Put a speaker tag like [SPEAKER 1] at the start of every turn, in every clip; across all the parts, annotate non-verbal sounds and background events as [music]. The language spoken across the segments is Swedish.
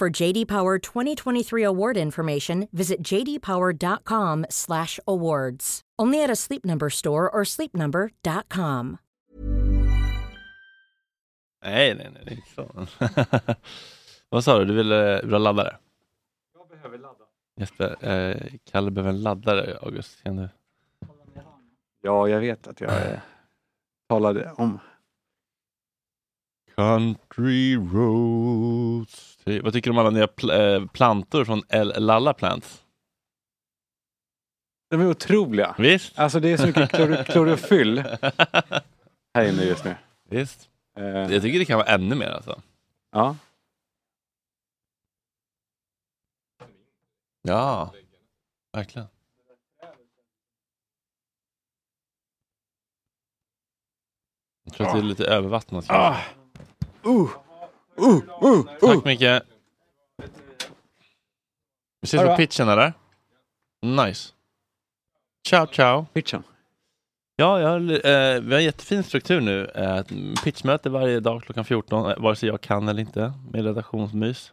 [SPEAKER 1] For JD Power 2023 award information, visit jdpower.com/awards. Only at a Sleep Number store or sleepnumber.com.
[SPEAKER 2] Nej, nej, nej. nej, Fan. [laughs] Vad sa du? Du ville du ha laddare? Jag behöver ladda. Jesper, eh, Kalle behöver en laddare, August. Kan du?
[SPEAKER 3] Ja, jag vet att jag eh, talade om.
[SPEAKER 2] Country roads. Ty- Typ. Vad tycker du om alla nya pl- eh, plantor från L Lalla Plants?
[SPEAKER 3] De är otroliga.
[SPEAKER 2] Visst?
[SPEAKER 3] Alltså det är så mycket klor- klorofyll här inne just nu.
[SPEAKER 2] Visst.
[SPEAKER 3] Eh,
[SPEAKER 2] Jag tycker det kan vara ännu mer alltså.
[SPEAKER 3] ja.
[SPEAKER 2] Ja, verkligen. Jag tror att det är lite övervattnat. kanske.
[SPEAKER 3] Ah. Uh. Uh. Uh. Uh.
[SPEAKER 2] Tack Micke. Vi ses
[SPEAKER 3] Ha det
[SPEAKER 2] på
[SPEAKER 3] bra.
[SPEAKER 2] pitchen eller? Nice. Ciao ciao.
[SPEAKER 3] Pitchen.
[SPEAKER 2] Ja, jag, har, eh, vi har en jättefin struktur nu. Eh, ett pitchmöte varje dag klockan 14, eh, vare sig jag kan eller inte, med redaktionsmys.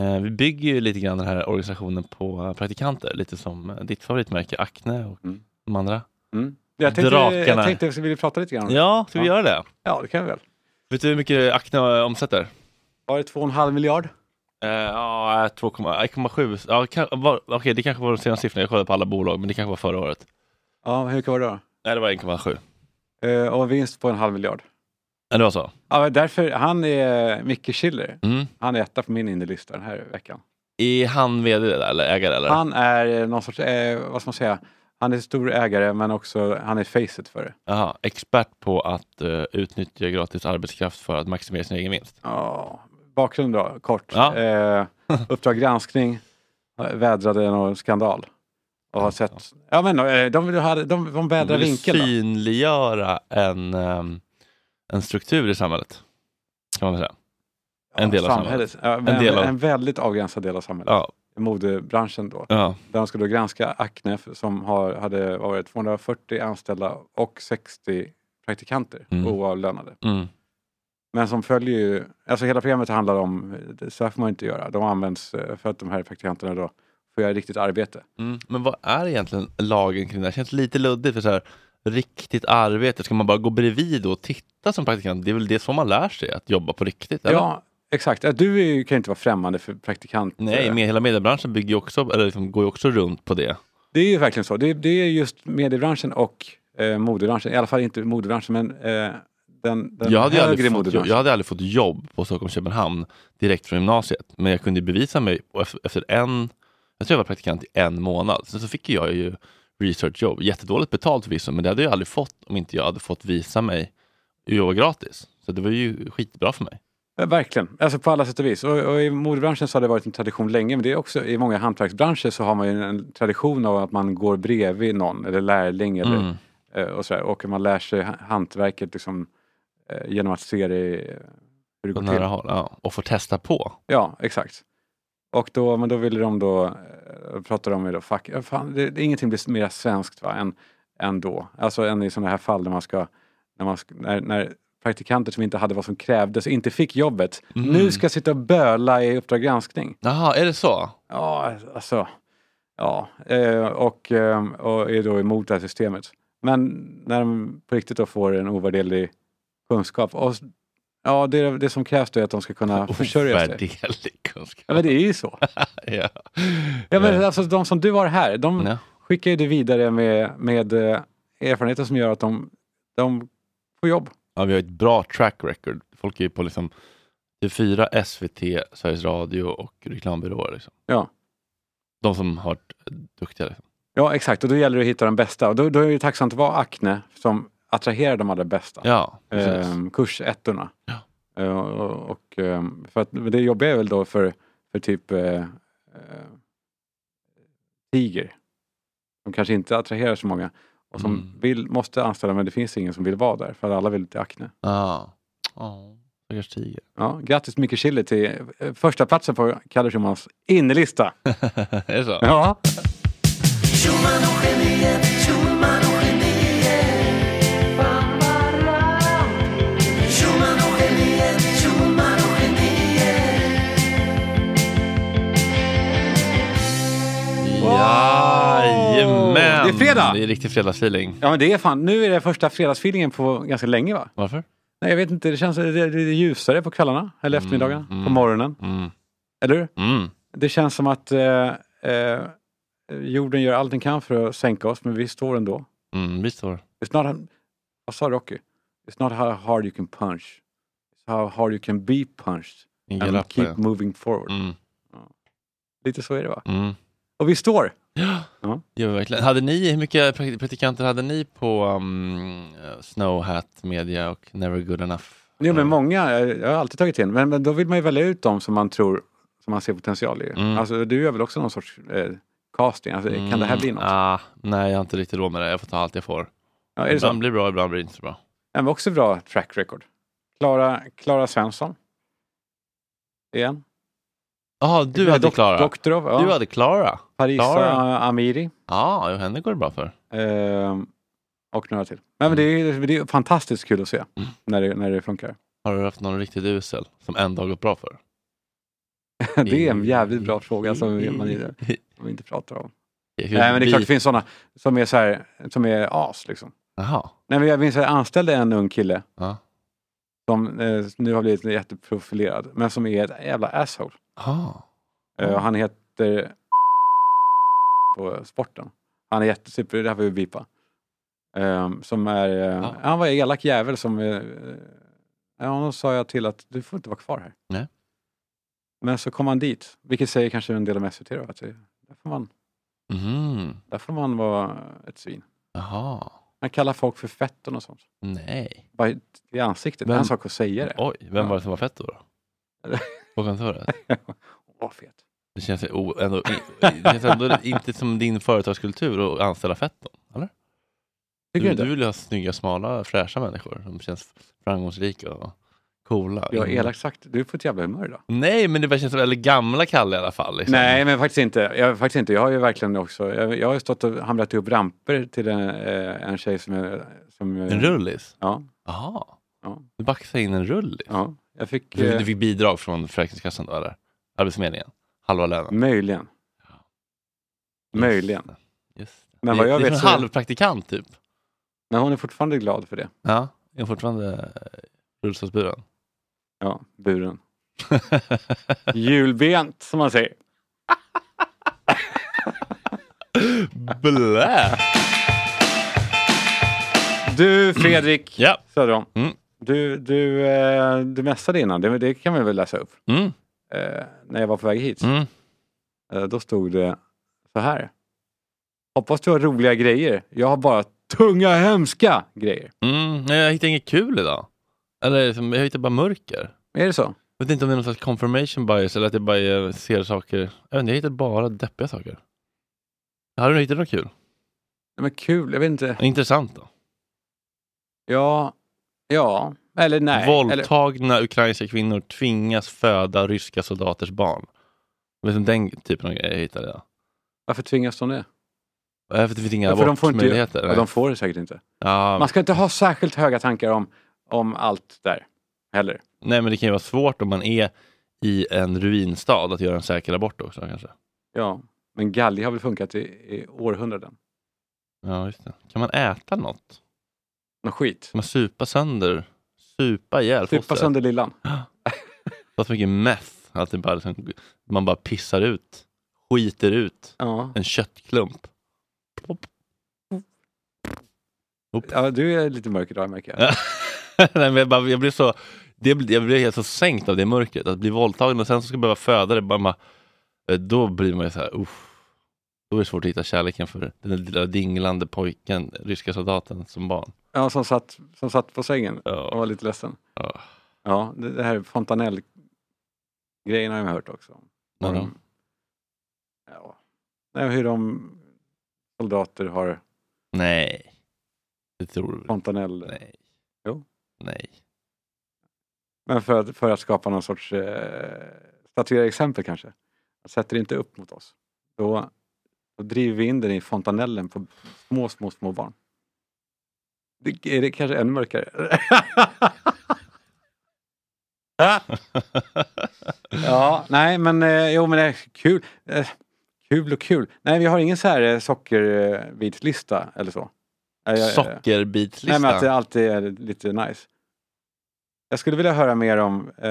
[SPEAKER 2] Eh, vi bygger ju lite grann den här organisationen på eh, praktikanter, lite som eh, ditt favoritmärke Acne och
[SPEAKER 3] Mm.
[SPEAKER 2] de andra.
[SPEAKER 3] Mm. Jag tänkte,
[SPEAKER 2] Drakarna.
[SPEAKER 3] jag tänkte att vi ville prata lite grann. Ja.
[SPEAKER 2] Ja, ska vi
[SPEAKER 3] Ja.
[SPEAKER 2] göra det?
[SPEAKER 3] ja, det kan vi väl.
[SPEAKER 2] Vet du hur mycket Acne eh, omsätter?
[SPEAKER 3] Var det två och en halv miljard?
[SPEAKER 2] Eh, Ja, 2,7. Ja, kan- var- Okej, det kanske var de senaste siffrorna. Jag kollade på alla bolag, men det kanske var förra året.
[SPEAKER 3] Ja, hur mycket var det då?
[SPEAKER 2] Nej, det var 1,7.
[SPEAKER 3] Eh, och vinst på en halv miljard.
[SPEAKER 2] Ja, det var så.
[SPEAKER 3] Ja, men därför, han är Micke Schiller.
[SPEAKER 2] Mm.
[SPEAKER 3] Han är etta på min innerlista den här veckan.
[SPEAKER 2] Är han vd där, eller ägare? Eller?
[SPEAKER 3] Han är eh, någon sorts, eh, vad ska man säga, han är stor ägare men också, han är facet för det.
[SPEAKER 2] Aha, expert på att eh, utnyttja gratis arbetskraft för att maximera sin egen vinst.
[SPEAKER 3] Ja, bakgrund då, kort.
[SPEAKER 2] Ja.
[SPEAKER 3] Eh, Uppdrag granskning eh, vädrade någon skandal. Och har sett, ja men eh, de, vill ha- de, de vädrar
[SPEAKER 2] Han vill
[SPEAKER 3] vinkeln. då.
[SPEAKER 2] synliggöra en, ehm, en struktur i samhället. Kan man väl säga. en del av
[SPEAKER 3] samhället. Ja, men, en,
[SPEAKER 2] del av-
[SPEAKER 3] en väldigt avgränsad del av samhället.
[SPEAKER 2] Ja,
[SPEAKER 3] Modebranschen då.
[SPEAKER 2] ja.
[SPEAKER 3] Där de skulle då granska Acne som har, hade varit 240 anställda och 60 praktikanter
[SPEAKER 2] Mm.
[SPEAKER 3] oavlönade.
[SPEAKER 2] Mm.
[SPEAKER 3] Men som följer ju, alltså hela programmet handlar om, så här får man inte göra. De används eh, för att de här praktikanterna då får göra riktigt arbete.
[SPEAKER 2] Mm. Men vad är egentligen lagen kring det här? känns lite luddigt för så här, riktigt arbete. Ska man bara gå bredvid och titta som praktikant? Det är väl det som man lär sig, att jobba på riktigt? Eller?
[SPEAKER 3] Ja, exakt. Ja, Du är ju, kan ju inte vara främmande för eh, praktikanter.
[SPEAKER 2] Nej, med, hela mediebranschen bygger ju också, eller liksom, går ju också runt på det.
[SPEAKER 3] Det är ju verkligen så. Det, det är just mediebranschen och eh, modebranschen. I alla fall inte modebranschen, men eh, den, den
[SPEAKER 2] jag, hade ju
[SPEAKER 3] högre
[SPEAKER 2] aldrig fått,
[SPEAKER 3] modebranschen.
[SPEAKER 2] jag hade aldrig fått jobb på Stockholm Köpenhamn direkt från gymnasiet. Men jag kunde bevisa mig och efter, efter en, jag tror jag var praktikant i en månad. Sen så fick jag ju researchjobb. Jättedåligt betalt förvisso, men det hade jag aldrig fått om inte jag hade fått visa mig och jobba gratis. Så det var ju skitbra för mig.
[SPEAKER 3] Ja, Verkligen, alltså på alla sätt och vis. Och, och i modebranschen så har det varit en tradition länge, men det är också i många hantverksbranscher så har man ju en tradition av att man går bredvid någon eller lärling eller,
[SPEAKER 2] Mm.
[SPEAKER 3] eh, och sådär. Och man lär sig ha- hantverket liksom, eh, genom att se det, eh, hur det
[SPEAKER 2] På
[SPEAKER 3] går
[SPEAKER 2] nära
[SPEAKER 3] till.
[SPEAKER 2] håll, ja. Och få testa på.
[SPEAKER 3] Ja, exakt. Och då, men då ville de då, eh, pratade de med då, fack, ja, fan, det, det, ingenting blir mer svenskt va, än, än då. Alltså än i sådana här fall när man ska, när, man, sk- när, när praktikanter som inte hade vad som krävdes inte fick jobbet,
[SPEAKER 2] Mm.
[SPEAKER 3] nu ska sitta och böla i Uppdrag granskning.
[SPEAKER 2] Jaha, är det så?
[SPEAKER 3] Ja, alltså. Ja, eh, och, eh, och är då emot det här systemet. Men när de på riktigt då får en ovärderlig kunskap och s- Ja, det, det som krävs då är att de
[SPEAKER 2] [laughs]
[SPEAKER 3] ska kunna försörja sig.
[SPEAKER 2] Ovärderlig kunskap.
[SPEAKER 3] Ja, men det är ju så.
[SPEAKER 2] Ja.
[SPEAKER 3] Ja, men alltså, de som du har här, de
[SPEAKER 2] Eh. Ja.
[SPEAKER 3] skickar ju det vidare med, med eh, erfarenheter som gör att de, de får jobb.
[SPEAKER 2] Ja, vi har ett bra track record. Folk är ju på liksom TV4, SVT, Sveriges Radio och reklambyråer. Liksom.
[SPEAKER 3] Ja.
[SPEAKER 2] De som har varit duktiga. Liksom.
[SPEAKER 3] Ja, exakt. Och då gäller det att hitta den bästa. Och då, då är det ju tacksamt att vara Acne som attraherar de allra bästa.
[SPEAKER 2] Ja, precis.
[SPEAKER 3] ehm, kursettorna.
[SPEAKER 2] Ja.
[SPEAKER 3] Eh, och, och, ehm, för att, men det jobbiga är väl då för, för typ eh, eh, tiger. De kanske inte attraherar så många. Och som
[SPEAKER 2] Mm.
[SPEAKER 3] vill, måste anställa men det finns ingen som vill vara där för att alla vill till Acne.
[SPEAKER 2] Ja. Ja, Stackars tiger.
[SPEAKER 3] Ja, grattis Micke Schiller till eh, första platsen på Kalle Schumans innelista.
[SPEAKER 2] [laughs] är det så?
[SPEAKER 3] Ja.
[SPEAKER 2] Jajamän!
[SPEAKER 3] Det är fredag!
[SPEAKER 2] Det är riktig fredagsfeeling.
[SPEAKER 3] ja, men det är fan, nu är det första fredagsfeelingen på ganska länge va?
[SPEAKER 2] Varför?
[SPEAKER 3] Nej, jag vet inte, det känns det, det, det är ljusare på kvällarna eller eftermiddagarna, på
[SPEAKER 2] mm.
[SPEAKER 3] morgonen.
[SPEAKER 2] Mm.
[SPEAKER 3] Eller hur?
[SPEAKER 2] Mm.
[SPEAKER 3] Det känns som att eh, eh, jorden gör allt den kan för att sänka oss, men vi står ändå.
[SPEAKER 2] Mm, vi står.
[SPEAKER 3] It's not, a, vad sa Rocky? It's not how hard you can punch. It's how hard you can be punched
[SPEAKER 2] Inga
[SPEAKER 3] and
[SPEAKER 2] lappar,
[SPEAKER 3] keep
[SPEAKER 2] ja.
[SPEAKER 3] moving forward.
[SPEAKER 2] Mm.
[SPEAKER 3] Lite så är det va?
[SPEAKER 2] Mm.
[SPEAKER 3] Och vi står!
[SPEAKER 2] Det gör vi verkligen. Hade ni, hur mycket praktik- praktikanter hade ni på um, Snowhat Media och Never Good Enough?
[SPEAKER 3] Jo, men många, eh, jag har alltid tagit in, men, men då vill man ju välja ut dem som man tror, som man ser potential i.
[SPEAKER 2] Mm.
[SPEAKER 3] Alltså du gör väl också någon sorts eh, casting, alltså, kan det här bli något?
[SPEAKER 2] Mm, ah, nej, jag har inte riktigt råd med det. Jag får ta allt jag får.
[SPEAKER 3] Ja, är det så?
[SPEAKER 2] ibland blir det bra, ibland blir det inte så bra.
[SPEAKER 3] Den var också bra track record. Klara, Klara Svensson. Igen.
[SPEAKER 2] Jaha, Ah, du hade
[SPEAKER 3] Dok-
[SPEAKER 2] Klara.
[SPEAKER 3] Doktorov, ja.
[SPEAKER 2] Du hade Klara.
[SPEAKER 3] Parisa
[SPEAKER 2] Klara.
[SPEAKER 3] Amiri.
[SPEAKER 2] Ja, ah, henne går det bra för.
[SPEAKER 3] ehm, och några till. Nej, men det,
[SPEAKER 2] Mm.
[SPEAKER 3] är, det är fantastiskt kul att se när, det, när det funkar.
[SPEAKER 2] Har du haft någon riktigt usel som en dag gått bra för?
[SPEAKER 3] [laughs] det är en jävligt bra fråga som vi-
[SPEAKER 2] [laughs]
[SPEAKER 3] man inte- som vi inte pratar om.
[SPEAKER 2] Hur-
[SPEAKER 3] Nej, men det är klart det
[SPEAKER 2] vi-
[SPEAKER 3] finns sådana som är, så här, som är as. Liksom.
[SPEAKER 2] Jaha.
[SPEAKER 3] Nej, men jag minns att jag anställde en ung kille
[SPEAKER 2] Ja.
[SPEAKER 3] som eh, nu har blivit jätteprofilerad, men som är ett jävla asshole.
[SPEAKER 2] Ah.
[SPEAKER 3] Eh,
[SPEAKER 2] Mm.
[SPEAKER 3] Han heter [laughs] på sporten. Han är jättesuper, det här får vi bipa. Ehm, som är, eh,
[SPEAKER 2] Ja.
[SPEAKER 3] Han var en elak jävel som... eh, Ja, honom sa jag till att du får inte vara kvar här.
[SPEAKER 2] Nej.
[SPEAKER 3] Men så kom han dit, vilket säger kanske en del om SVT då, att det, där, får man,
[SPEAKER 2] Mhm.
[SPEAKER 3] där får man vara ett svin.
[SPEAKER 2] Jaha.
[SPEAKER 3] Han kallar folk för fetten och sånt.
[SPEAKER 2] Nej.
[SPEAKER 3] Bara i ansiktet, det är
[SPEAKER 2] Vem-
[SPEAKER 3] en sak att säga det.
[SPEAKER 2] Oj, vem
[SPEAKER 3] Ja.
[SPEAKER 2] var det som var fett då?
[SPEAKER 3] [laughs]
[SPEAKER 2] då? På kontoret?
[SPEAKER 3] Åh, fet.
[SPEAKER 2] Det känns, ju o, ändå, det känns ändå inte som din företagskultur att anställa fetton. Eller?
[SPEAKER 3] Tycker du
[SPEAKER 2] Du,
[SPEAKER 3] inte?
[SPEAKER 2] du vill ju ha snygga, smala, fräscha människor som känns framgångsrika och coola.
[SPEAKER 3] Jag har elakt sagt, du är på ett jävla humör idag.
[SPEAKER 2] Nej, men det bara känns som, eller gamla Kalle i alla fall. Liksom.
[SPEAKER 3] Nej, men faktiskt inte. Jag, faktiskt inte. jag har ju verkligen också, jag, jag har ju stått och hamrat upp ramper till en, eh, en tjej som... är- som
[SPEAKER 2] En rullis?
[SPEAKER 3] Ja,
[SPEAKER 2] Jaha.
[SPEAKER 3] Ja.
[SPEAKER 2] Du baxade in en rullis?
[SPEAKER 3] ja. Jag fick...
[SPEAKER 2] Du,
[SPEAKER 3] Eh,
[SPEAKER 2] du fick bidrag från Försäkringskassan då, eller? Arbetsförmedlingen? Halva lönen?
[SPEAKER 3] Möjligen. Möjligen.
[SPEAKER 2] Just det. Just det.
[SPEAKER 3] Men vad
[SPEAKER 2] Det-
[SPEAKER 3] jag
[SPEAKER 2] det är
[SPEAKER 3] vet
[SPEAKER 2] som en
[SPEAKER 3] så-
[SPEAKER 2] halvpraktikant typ.
[SPEAKER 3] Men hon är fortfarande glad för det.
[SPEAKER 2] Ja, jag är fortfarande eh, rullstolsburen.
[SPEAKER 3] Ja, buren. Julbent, som man säger.
[SPEAKER 2] Blä!
[SPEAKER 3] Du, Fredrik
[SPEAKER 2] Ja.
[SPEAKER 3] Söderholm.
[SPEAKER 2] Mm.
[SPEAKER 3] Du, du, eh, du mässade innan, det, det kan vi väl läsa upp.
[SPEAKER 2] Mm.
[SPEAKER 3] Eh, när jag var på väg hit,
[SPEAKER 2] Mm.
[SPEAKER 3] eh, då stod det så här. Hoppas du har roliga grejer. Jag har bara tunga, hemska grejer.
[SPEAKER 2] Mm. Nej, jag hittade inget kul idag. Eller liksom, jag hittade bara mörker.
[SPEAKER 3] Är det så?
[SPEAKER 2] Jag vet inte om det är någon slags confirmation bias eller att jag bara eh, ser saker. Jag, vet inte, jag hittade bara deppiga saker. Har du hittat något kul?
[SPEAKER 3] Nej, Men kul, jag vet inte.
[SPEAKER 2] Intressant då?
[SPEAKER 3] Ja, ja. Eller nej. Eller,
[SPEAKER 2] Våldtagna ukrainska kvinnor tvingas föda ryska soldaters barn. Det är som den typen av grejer jag hittade idag.
[SPEAKER 3] varför tvingas de
[SPEAKER 2] Eh,
[SPEAKER 3] det?
[SPEAKER 2] För det finns inga
[SPEAKER 3] Ja, för de får inte-
[SPEAKER 2] abortmöjligheter.
[SPEAKER 3] Ja, de får det säkert inte.
[SPEAKER 2] ja,
[SPEAKER 3] Man ska inte ha särskilt höga tankar om, om allt där heller.
[SPEAKER 2] Nej, men det kan ju vara svårt om man är i en ruinstad att göra en säker abort också kanske.
[SPEAKER 3] Ja, men galge har väl funkat i, i århundraden.
[SPEAKER 2] Ja, just det. Kan man äta något?
[SPEAKER 3] Någon skit.
[SPEAKER 2] Kan man supa sönder Supa ihjäl
[SPEAKER 3] Supa
[SPEAKER 2] fostret.
[SPEAKER 3] sönder lillan.
[SPEAKER 2] Det var så mycket meth. Att det bara, liksom- man bara pissar ut, skiter ut
[SPEAKER 3] Ja.
[SPEAKER 2] en köttklump. [laughs]
[SPEAKER 3] ja, du är lite mörk idag märker jag.
[SPEAKER 2] Ja. Nej, men jag, bara, jag blir så det, blir- jag blir helt så sänkt av det mörkret. Att bli våldtagen och sen så ska jag behöva föda det. Bara, man- eh, då blir man ju så här, uff. Då är det svårt att hitta kärleken för den lilla dinglande pojken, ryska soldaten som barn.
[SPEAKER 3] Ja, som satt, som satt på sängen och
[SPEAKER 2] Ja.
[SPEAKER 3] var lite ledsen.
[SPEAKER 2] Ja.
[SPEAKER 3] Ja, det, det här fontanell-grejen har jag hört också.
[SPEAKER 2] Ja, då.
[SPEAKER 3] Ja. Nej, hur de soldater har
[SPEAKER 2] Nej. Det tror du väl?
[SPEAKER 3] fontanell.
[SPEAKER 2] Nej.
[SPEAKER 3] Jo.
[SPEAKER 2] Nej.
[SPEAKER 3] Men för att, för att skapa någon sorts eh, statuera exempel kanske. Att Sätter det inte upp mot oss. Då, då driver vi in den i fontanellen på små, små, små barn. Det, är det kanske ännu mörkare? [laughs] ja, nej men eh, jo men det är kul. Eh, kul och kul. Nej, vi har ingen så här eh, sockerbitslista eller så. Eh, jag-
[SPEAKER 2] Sockerbitslista.
[SPEAKER 3] Nej, men att det alltid är lite nice. Jag skulle vilja höra mer om, eh,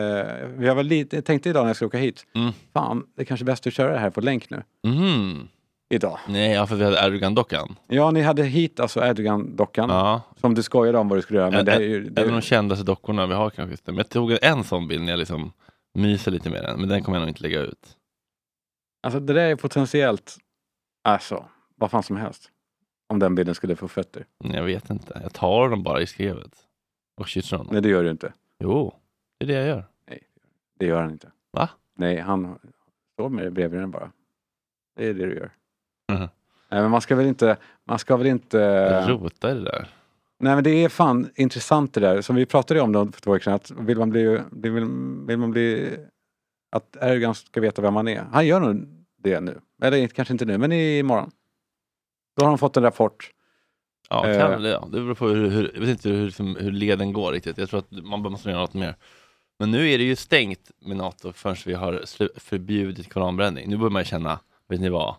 [SPEAKER 3] jag var lite, jag tänkte idag när jag skulle åka hit,
[SPEAKER 2] Mm.
[SPEAKER 3] fan, det är kanske är bäst att köra det här på länk nu.
[SPEAKER 2] Mhm.
[SPEAKER 3] Idag.
[SPEAKER 2] Nej, ja, för vi hade Erdogan-dockan.
[SPEAKER 3] Ja, ni hade hit alltså Erdogan-dockan,
[SPEAKER 2] Ja.
[SPEAKER 3] som du skojade om vad du skulle göra, men det här är ju...
[SPEAKER 2] En av de
[SPEAKER 3] Det,
[SPEAKER 2] kändaste dockorna vi har kanske. just det. Men jag tog en sån bild när jag liksom myser lite med den. Men den kommer jag nog inte lägga ut.
[SPEAKER 3] alltså det där är potentiellt, alltså, vad fan som helst. Om den bilden skulle få fötter.
[SPEAKER 2] Nej, Jag vet inte. Jag tar dem bara i skrevet. Och kysser honom.
[SPEAKER 3] Nej, det gör du inte.
[SPEAKER 2] Jo, det är det jag gör.
[SPEAKER 3] Det gör han inte.
[SPEAKER 2] Va?
[SPEAKER 3] Nej, han står med det bredvid den bara. Det är det du gör.
[SPEAKER 2] Mhm.
[SPEAKER 3] Nej, men man ska väl inte, man ska väl inte...
[SPEAKER 2] Jag rotar i det där.
[SPEAKER 3] Nej men det är fan intressant det där, som vi pratade om då för två veckor sedan, att vill man bli, vill, vill man bli att Erdogan ska veta vem han är. Han gör nog det nu, eller inte- kanske inte nu, men imorgon. Då har han fått en rapport.
[SPEAKER 2] Ja,
[SPEAKER 3] Eh.
[SPEAKER 2] kan, ja, det beror på hur, hur, jag vet inte hur, liksom, hur leden går riktigt. Jag tror att man måste göra något mer. Men nu är det ju stängt med NATO förrän vi har slu- förbjudit koranbränning. Nu börjar man ju känna, vet ni vad?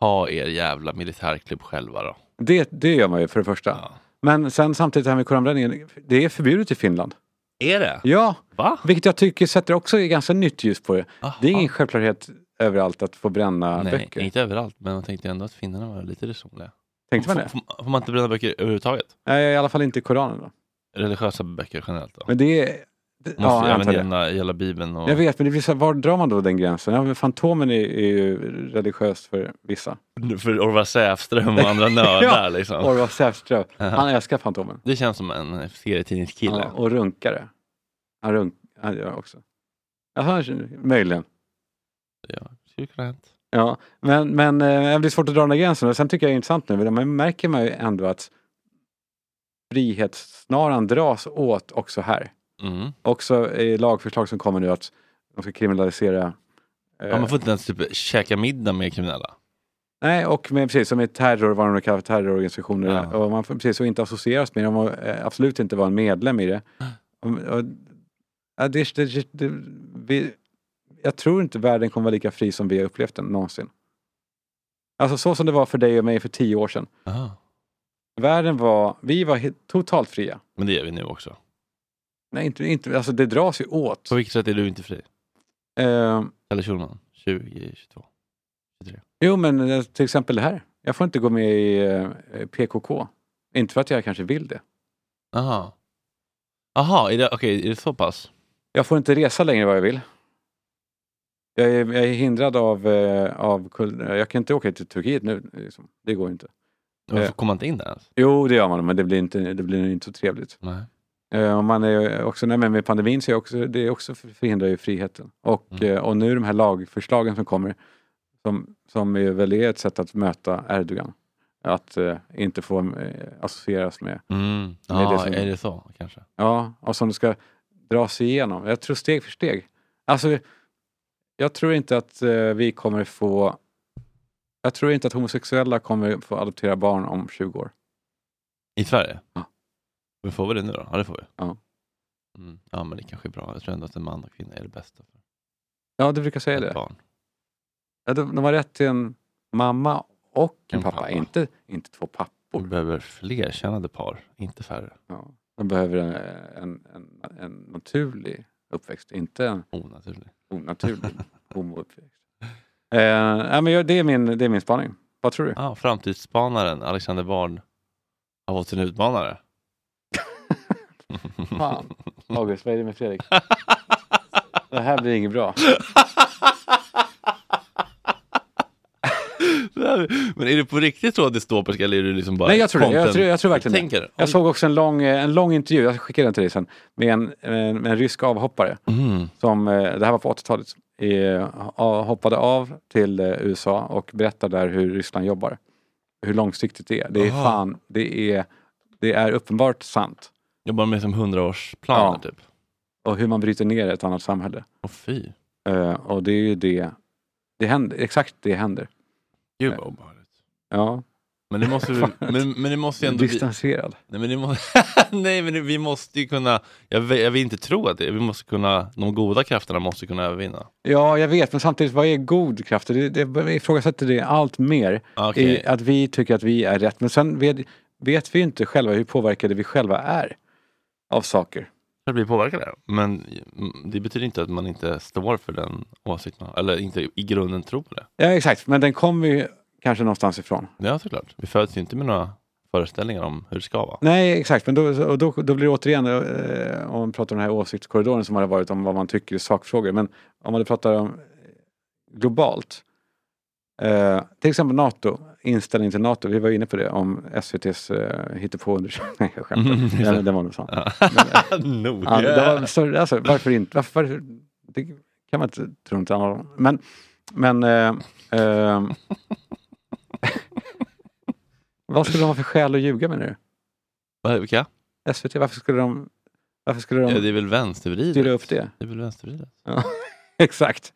[SPEAKER 2] Ha er jävla militärklubb själva då.
[SPEAKER 3] Det, det gör man ju för det första.
[SPEAKER 2] Ja.
[SPEAKER 3] Men sen samtidigt det här med koranbränningen, det är förbjudet i Finland.
[SPEAKER 2] Är det?
[SPEAKER 3] Ja,
[SPEAKER 2] Va?
[SPEAKER 3] vilket jag tycker sätter också ganska nytt ljus på det. Det är ingen självklarhet överallt att få bränna
[SPEAKER 2] Nej,
[SPEAKER 3] böcker.
[SPEAKER 2] inte överallt, men man tänkte ändå att finnarna var lite resonliga.
[SPEAKER 3] Tänkte man det?
[SPEAKER 2] Får, får, får man inte bränna böcker överhuvudtaget?
[SPEAKER 3] Nej, i alla fall inte i Koranen då.
[SPEAKER 2] Religiösa böcker generellt då?
[SPEAKER 3] Men det är... det-
[SPEAKER 2] Man måste
[SPEAKER 3] jag
[SPEAKER 2] även
[SPEAKER 3] antar det.
[SPEAKER 2] gälla, gälla Bibeln och...
[SPEAKER 3] Jag vet, men det blir så här, var drar man då den gränsen? Ja, men Fantomen är, är ju religiös för vissa.
[SPEAKER 2] För Orvar Säfström och
[SPEAKER 3] [laughs]
[SPEAKER 2] andra nördar liksom.
[SPEAKER 3] Orvar Säfström,
[SPEAKER 2] Ja.
[SPEAKER 3] han älskar Fantomen.
[SPEAKER 2] [laughs] Det känns som en serietidningskille.
[SPEAKER 3] Ja, och runkare. Han, runk, han gör också. Jaha, möjligen.
[SPEAKER 2] Ja, det skulle kunna ha hänt.
[SPEAKER 3] Ja, men, men eh, det blir svårt att dra den där gränsen. Och sen tycker jag det är intressant nu, men man märker man ju ändå att frihetssnaran dras åt också här.
[SPEAKER 2] Mm.
[SPEAKER 3] Också i lagförslag som kommer nu att de ska kriminalisera eh,
[SPEAKER 2] Ja, man får inte ens typ käka middag med kriminella.
[SPEAKER 3] Nej, och med, precis som i terror, vad de nu kallar för terrororganisationer.
[SPEAKER 2] Ja.
[SPEAKER 3] Och man får precis och inte associeras med dem och eh, absolut inte vara en medlem i det. Och, och, ja, det, det, det vi, jag tror inte världen kommer vara lika fri som vi har upplevt den någonsin. Alltså så som det var för dig och mig för tio år sedan.
[SPEAKER 2] Aha.
[SPEAKER 3] Världen var, vi var helt, totalt fria.
[SPEAKER 2] Men det gör vi nu också.
[SPEAKER 3] Nej, inte, inte, alltså det dras ju åt.
[SPEAKER 2] På vilket sätt är du inte fri?
[SPEAKER 3] Eh,
[SPEAKER 2] Kalle Schulman, 2022.
[SPEAKER 3] jo, men eh, till exempel det här. Jag får inte gå med i eh, PKK. Inte för att jag kanske vill det.
[SPEAKER 2] Aha. Aha, är det, okej, är det så pass?
[SPEAKER 3] Jag får inte resa längre vad jag vill. Jag är, jag är hindrad av, eh, av kul- Jag kan inte åka till Turkiet nu. Liksom. Det går inte.
[SPEAKER 2] Varför
[SPEAKER 3] Eh.
[SPEAKER 2] kommer man inte in där ens?
[SPEAKER 3] Jo, det gör man, men det blir inte, det blir inte så trevligt.
[SPEAKER 2] Nej.
[SPEAKER 3] Eh, och man är också, nej, men med pandemin så är också, det är också förhindrar ju friheten. Och,
[SPEAKER 2] Mm.
[SPEAKER 3] eh, och nu de här lagförslagen som kommer, som, som är väl är ett sätt att möta Erdogan. Att eh, inte få eh, associeras med
[SPEAKER 2] Mm.
[SPEAKER 3] Det är det
[SPEAKER 2] Ja,
[SPEAKER 3] som-
[SPEAKER 2] är det så kanske?
[SPEAKER 3] Ja, och som ska dra sig igenom. Jag tror steg för steg. Alltså, jag tror inte att eh, vi kommer få... Jag tror inte att homosexuella kommer få adoptera barn om 20 år.
[SPEAKER 2] I Sverige?
[SPEAKER 3] Ja.
[SPEAKER 2] Men får vi det nu då? Ja, det får vi.
[SPEAKER 3] Ja.
[SPEAKER 2] Mm. Ja, men det kanske är bra. Jag tror ändå att en man och kvinna är det bästa för
[SPEAKER 3] Ja, du brukar säga
[SPEAKER 2] ett
[SPEAKER 3] det.
[SPEAKER 2] barn.
[SPEAKER 3] Ja, de, de har rätt till en mamma och en
[SPEAKER 2] En
[SPEAKER 3] pappa,
[SPEAKER 2] pappa.
[SPEAKER 3] Inte, inte två
[SPEAKER 2] Vi
[SPEAKER 3] pappor.
[SPEAKER 2] behöver fler kännande par, inte färre.
[SPEAKER 3] Ja. De behöver en, en, en, en naturlig uppväxt, inte en
[SPEAKER 2] Onaturligt.
[SPEAKER 3] onaturlig homouppväxt. Eh, nej, men jag, det, är min, det är min spaning. Vad tror du?
[SPEAKER 2] Ja, framtidsspanaren Alexander Bard har fått sin [laughs] utmanare.
[SPEAKER 3] Fan. August, vad är det med Fredrik? Det här blir inget bra.
[SPEAKER 2] Det här- Men är det på riktigt så dystopisk eller är det liksom bara
[SPEAKER 3] Nej, jag tror det. Jag
[SPEAKER 2] content-
[SPEAKER 3] tror, jag tror verkligen
[SPEAKER 2] tänker.
[SPEAKER 3] det. Jag såg också en lång, eh, en lång intervju, jag skickade den till dig sen, med en, en, med en rysk avhoppare.
[SPEAKER 2] Mm.
[SPEAKER 3] Som, eh, det här var på 80-talet. eh, a- hoppade av till eh, USA och berättar där hur Ryssland jobbar. Hur långsiktigt det är. Det är
[SPEAKER 2] Aha.
[SPEAKER 3] fan, det är, det är uppenbart sant.
[SPEAKER 2] Jobbar med som hundraårsplaner
[SPEAKER 3] Ja.
[SPEAKER 2] typ.
[SPEAKER 3] Och hur man bryter ner ett annat samhälle.
[SPEAKER 2] Åh fy.
[SPEAKER 3] Eh, och det är ju det, det händer, exakt det händer.
[SPEAKER 2] Gud vad obehagligt.
[SPEAKER 3] Ja,
[SPEAKER 2] Men det [laughs] måste, vi- men, men det måste ju ändå bli...
[SPEAKER 3] distanserad.
[SPEAKER 2] Nej men, det må... [laughs] Nej men det- vi måste ju kunna, jag vill, jag vill inte tro att det, vi måste kunna, de goda krafterna måste kunna övervinna.
[SPEAKER 3] Ja, jag vet, men samtidigt, vad är god kraft? Det, det, jag ifrågasätter det allt mer.
[SPEAKER 2] Okej.
[SPEAKER 3] I, att vi tycker att vi är rätt. Men sen vet, vet vi inte själva hur påverkade vi själva är av saker.
[SPEAKER 2] Jag blir påverkad där. Men mm, det betyder inte att man inte står för den åsikt man har, eller inte i grunden tror på det.
[SPEAKER 3] Ja, exakt. Men den kommer ju kanske någonstans ifrån.
[SPEAKER 2] Ja såklart, vi föds ju inte med några föreställningar om hur det ska [laughs] vara.
[SPEAKER 3] Nej, exakt. Men då, och då, då blir det återigen, eh, om man pratar om den här åsiktskorridoren som har varit om vad man tycker i sakfrågor. Men om man pratar om eh, globalt. Eh, till exempel NATO, inställningen till NATO. Vi var inne på det om SVTs eh, hittepåundersökning. [laughs] Nej, jag skämtar.
[SPEAKER 2] Mm, just det.
[SPEAKER 3] den, den var nog sann.
[SPEAKER 2] Nog.
[SPEAKER 3] Ja, det var, så, alltså, varför inte? Varför, varför, det kan man inte tro något annat om. Men, men eh, eh, [laughs] vad skulle de ha för skäl att ljuga med nu?
[SPEAKER 2] Vad- Vilka?
[SPEAKER 3] SVT, varför skulle de, varför skulle
[SPEAKER 2] Ja, det
[SPEAKER 3] de
[SPEAKER 2] är väl vänstervridet?
[SPEAKER 3] styra upp det?
[SPEAKER 2] Det är väl vänstervridet?
[SPEAKER 3] [laughs] Exakt.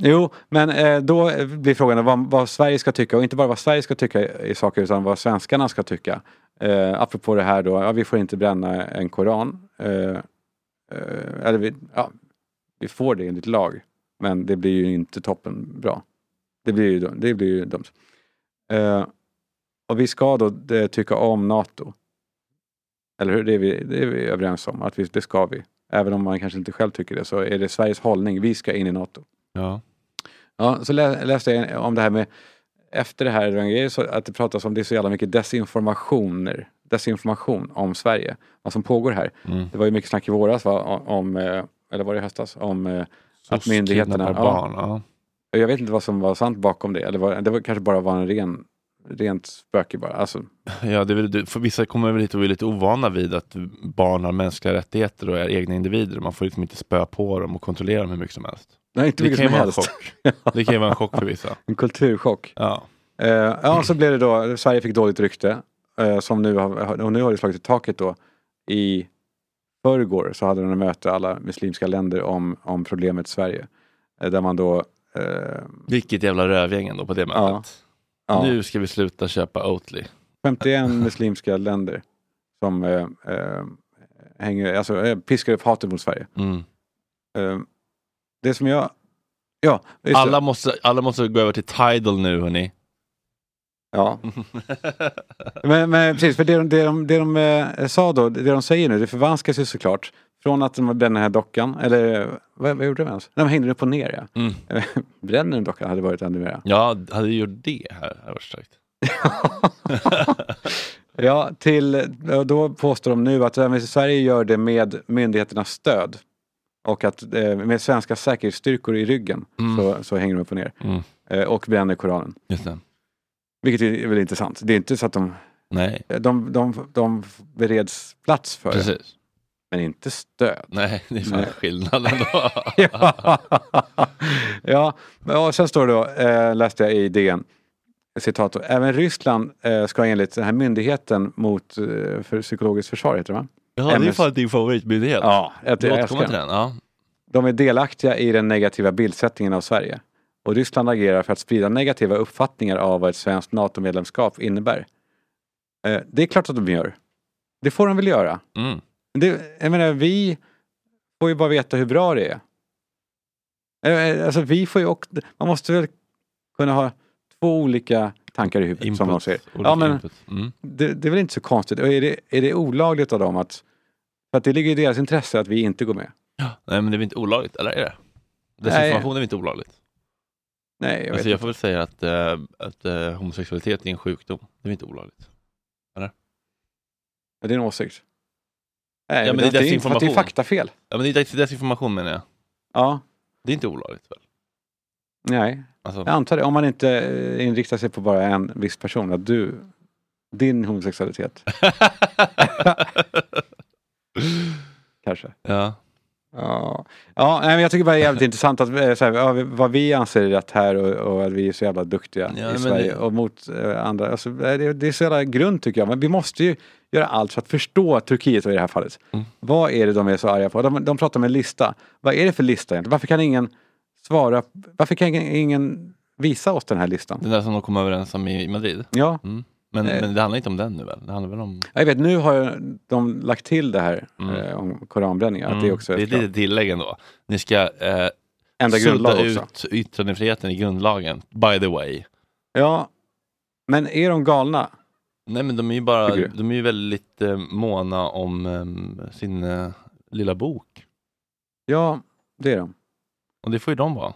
[SPEAKER 3] Jo, men eh, då blir frågan vad, vad Sverige ska tycka och inte bara vad Sverige ska tycka i saker utan vad svenskarna ska tycka. Eh, apropå det här då, ja, vi får inte bränna en koran. Eh, eh, eller vi, ja, vi får det enligt lag, men det blir ju inte toppen bra. Det blir ju, dum- det blir ju dumt. Eh, och vi ska då eh, tycka om NATO. Eller hur? Det är vi, det är vi överens om, att vi, det ska vi. Även om man kanske inte själv tycker det, så är det Sveriges hållning. Vi ska in i NATO.
[SPEAKER 2] Ja.
[SPEAKER 3] Ja, så lä, läste jag om det här med, efter det här, det var en grej, så att det pratas om det är så jävla mycket desinformationer, desinformation om Sverige, vad som pågår här.
[SPEAKER 2] Mm.
[SPEAKER 3] Det var ju mycket snack i våras, va, om- om, eh, eller var det i höstas, om eh, Att myndigheterna-
[SPEAKER 2] Kidnappar
[SPEAKER 3] ja.
[SPEAKER 2] barn, ja.
[SPEAKER 3] och Jag vet inte vad som var sant bakom det. Eller var, det var, kanske bara var en ren, rent spöke bara. Alltså,
[SPEAKER 2] Ja, det är väl, det- för vissa kommer väl hit och är lite ovana vid att barn har mänskliga rättigheter och är egna individer. Man får liksom inte spö på dem och kontrollera dem hur mycket som helst.
[SPEAKER 3] nej, inte
[SPEAKER 2] Det
[SPEAKER 3] mycket
[SPEAKER 2] kan, ju
[SPEAKER 3] som
[SPEAKER 2] vara en
[SPEAKER 3] helst.
[SPEAKER 2] chock. det kan ju vara en chock för
[SPEAKER 3] [laughs]
[SPEAKER 2] vissa.
[SPEAKER 3] En kulturchock.
[SPEAKER 2] Ja.
[SPEAKER 3] Eh, ja, så blev det då, Sverige fick dåligt rykte. Eh, som nu har, och nu har det slagit i taket då. I förrgår så hade de ett möte, alla muslimska länder, om, om problemet Sverige. Eh, där man då... Eh,
[SPEAKER 2] Vilket jävla rövgäng ändå på det mötet.
[SPEAKER 3] ja,
[SPEAKER 2] Nu ska vi sluta köpa Oatly.
[SPEAKER 3] 51 muslimska länder som eh, eh, hänger, alltså, eh, piskar upp hatet mot Sverige.
[SPEAKER 2] Mm.
[SPEAKER 3] Eh, det som jag... Ja, just
[SPEAKER 2] Alla,
[SPEAKER 3] det.
[SPEAKER 2] måste, alla måste gå över till Tidal nu, hörni.
[SPEAKER 3] Ja. [laughs] Men, men precis, för det de, det de, det de eh, sa då, det de säger nu, det förvanskas ju såklart. Från att de brände den här dockan, eller vad, vad gjorde de ens? De hängde den upp och ner ja. [laughs]
[SPEAKER 2] Mm.
[SPEAKER 3] Bränner den dockan hade varit ännu mer.
[SPEAKER 2] Ja, hade ju gjort det här, hade varit starkt.
[SPEAKER 3] Ja, till, eh, då påstår de nu att även Sverige gör det med myndigheternas stöd. Och att eh, med svenska säkerhetsstyrkor i ryggen
[SPEAKER 2] Mm.
[SPEAKER 3] så, så hänger de upp och ner.
[SPEAKER 2] Mm.
[SPEAKER 3] Eh, Och bränner Koranen.
[SPEAKER 2] Just det.
[SPEAKER 3] Vilket är väl inte sant. Det är inte så att de,
[SPEAKER 2] Nej,
[SPEAKER 3] de, de, de bereds plats för det,
[SPEAKER 2] precis.
[SPEAKER 3] men inte stöd.
[SPEAKER 2] Nej, det är fan
[SPEAKER 3] Nej.
[SPEAKER 2] skillnad
[SPEAKER 3] [laughs]
[SPEAKER 2] ändå.
[SPEAKER 3] ja, [laughs] ja, men- och sen står det då, eh, läste jag i DN, citat då, även Ryssland eh, ska enligt den här myndigheten mot eh, för psykologiskt försvar, heter det va?
[SPEAKER 2] Ja, det är
[SPEAKER 3] MS.
[SPEAKER 2] fan din favoritmyndighet.
[SPEAKER 3] Ja, jag,
[SPEAKER 2] Du
[SPEAKER 3] jag
[SPEAKER 2] återkommer
[SPEAKER 3] älskar
[SPEAKER 2] till
[SPEAKER 3] den.
[SPEAKER 2] den. Ja.
[SPEAKER 3] De är delaktiga i den negativa bildsättningen av Sverige. Och Ryssland agerar för att sprida negativa uppfattningar av vad ett svenskt NATO-medlemskap innebär. Eh, det är klart att de gör. Det får de väl göra.
[SPEAKER 2] Mm.
[SPEAKER 3] Det, jag menar, vi får ju bara veta hur bra det eh, är. Eh, Alltså, vi får ju också, man måste väl kunna ha två olika tankar i huvudet som de
[SPEAKER 2] Input,
[SPEAKER 3] ser.
[SPEAKER 2] olika
[SPEAKER 3] Ja, men
[SPEAKER 2] input. Mm.
[SPEAKER 3] det, det är väl inte så konstigt. Och är det, är det olagligt av dem att... För att det ligger i deras intresse att vi inte går med.
[SPEAKER 2] Nej, men det är väl inte olagligt, eller är det? Desinformation är väl inte olagligt?
[SPEAKER 3] Nej, jag
[SPEAKER 2] Jag,
[SPEAKER 3] vet
[SPEAKER 2] alltså,
[SPEAKER 3] inte.
[SPEAKER 2] jag får väl säga att, eh, att eh, homosexualitet är en sjukdom. Det är väl inte olagligt?
[SPEAKER 3] Är det en åsikt? Nej,
[SPEAKER 2] Ja, men
[SPEAKER 3] det,
[SPEAKER 2] det är
[SPEAKER 3] det, är, för att det är
[SPEAKER 2] desinformation.
[SPEAKER 3] faktafel.
[SPEAKER 2] Ja, men det är desinformation menar jag.
[SPEAKER 3] Ja,
[SPEAKER 2] Det är inte olagligt väl?
[SPEAKER 3] nej.
[SPEAKER 2] Alltså,
[SPEAKER 3] Jag antar det. Om man inte eh, inriktar sig på bara en viss person. Att du, din homosexualitet, kanske.
[SPEAKER 2] [laughs] ja.
[SPEAKER 3] Ja, ja nej, men jag tycker bara det är jävligt intressant att, eh, så här, ja, vi- vad vi anser är rätt här och, och att vi är så jävla duktiga
[SPEAKER 2] Ja,
[SPEAKER 3] i
[SPEAKER 2] men
[SPEAKER 3] Sverige
[SPEAKER 2] det-
[SPEAKER 3] och mot eh, andra. Alltså, eh, det, det är så jävla grund tycker jag. Men vi måste ju göra allt för att förstå Turkiet i det här fallet.
[SPEAKER 2] Mm.
[SPEAKER 3] Vad är det de är så arga på? De, de pratar om en lista. Vad är det för lista egentligen? Varför kan ingen svara? Varför kan ingen- ingen visa oss den här listan?
[SPEAKER 2] Den där som de kom överens om i i Madrid.
[SPEAKER 3] Ja,
[SPEAKER 2] Mm. Men,
[SPEAKER 3] Eh.
[SPEAKER 2] men det handlar inte om den nu väl? Det handlar väl om...
[SPEAKER 3] jag vet, nu har ju de lagt till det här
[SPEAKER 2] Mm.
[SPEAKER 3] eh, om koranbränningar. Att det är
[SPEAKER 2] Mm,
[SPEAKER 3] också
[SPEAKER 2] det är
[SPEAKER 3] ett
[SPEAKER 2] ett litet tillägg ändå. Ni ska eh,
[SPEAKER 3] enda grundlag
[SPEAKER 2] sudda
[SPEAKER 3] också.
[SPEAKER 2] ut yttrandefriheten i grundlagen, by the way.
[SPEAKER 3] Ja, men är de galna?
[SPEAKER 2] Nej men de är ju bara,
[SPEAKER 3] Tycker du?
[SPEAKER 2] de är ju väldigt eh, måna om eh, sin eh, lilla bok.
[SPEAKER 3] Ja, det är de.
[SPEAKER 2] Och det får ju de vara.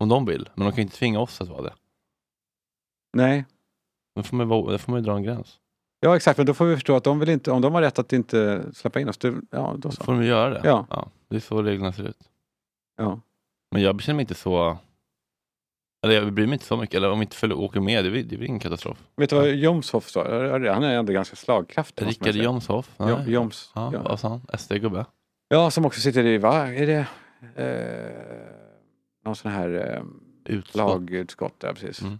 [SPEAKER 2] Om de vill. Men de kan ju inte tvinga oss att vara det.
[SPEAKER 3] Nej.
[SPEAKER 2] Då får man ju, vara- då får man ju dra en gräns.
[SPEAKER 3] Ja, exakt. Men då får vi förstå att de vill inte, om de har rätt att inte släppa in oss, det, ja, då
[SPEAKER 2] Då
[SPEAKER 3] så.
[SPEAKER 2] får de ju göra det.
[SPEAKER 3] Ja.
[SPEAKER 2] Det är så reglerna ser ut.
[SPEAKER 3] Ja.
[SPEAKER 2] Men jag känner mig inte så... Eller jag bryr mig inte så mycket. Eller om vi inte följer, åker med, det blir, det blir ingen katastrof.
[SPEAKER 3] Vet du vad Jomshof sa? Han är ändå ganska slagkraftig. måste man
[SPEAKER 2] Rickard
[SPEAKER 3] säga.
[SPEAKER 2] Jomshof? Nej.
[SPEAKER 3] Jo- Joms.
[SPEAKER 2] Ja,
[SPEAKER 3] Ja.
[SPEAKER 2] vad sa han? SD-gubbe?
[SPEAKER 3] ja, som också sitter i, vad är det? Eh, någon sån här eh,
[SPEAKER 2] [laughs] Utslag.
[SPEAKER 3] lagutskott, ja precis.
[SPEAKER 2] Mm.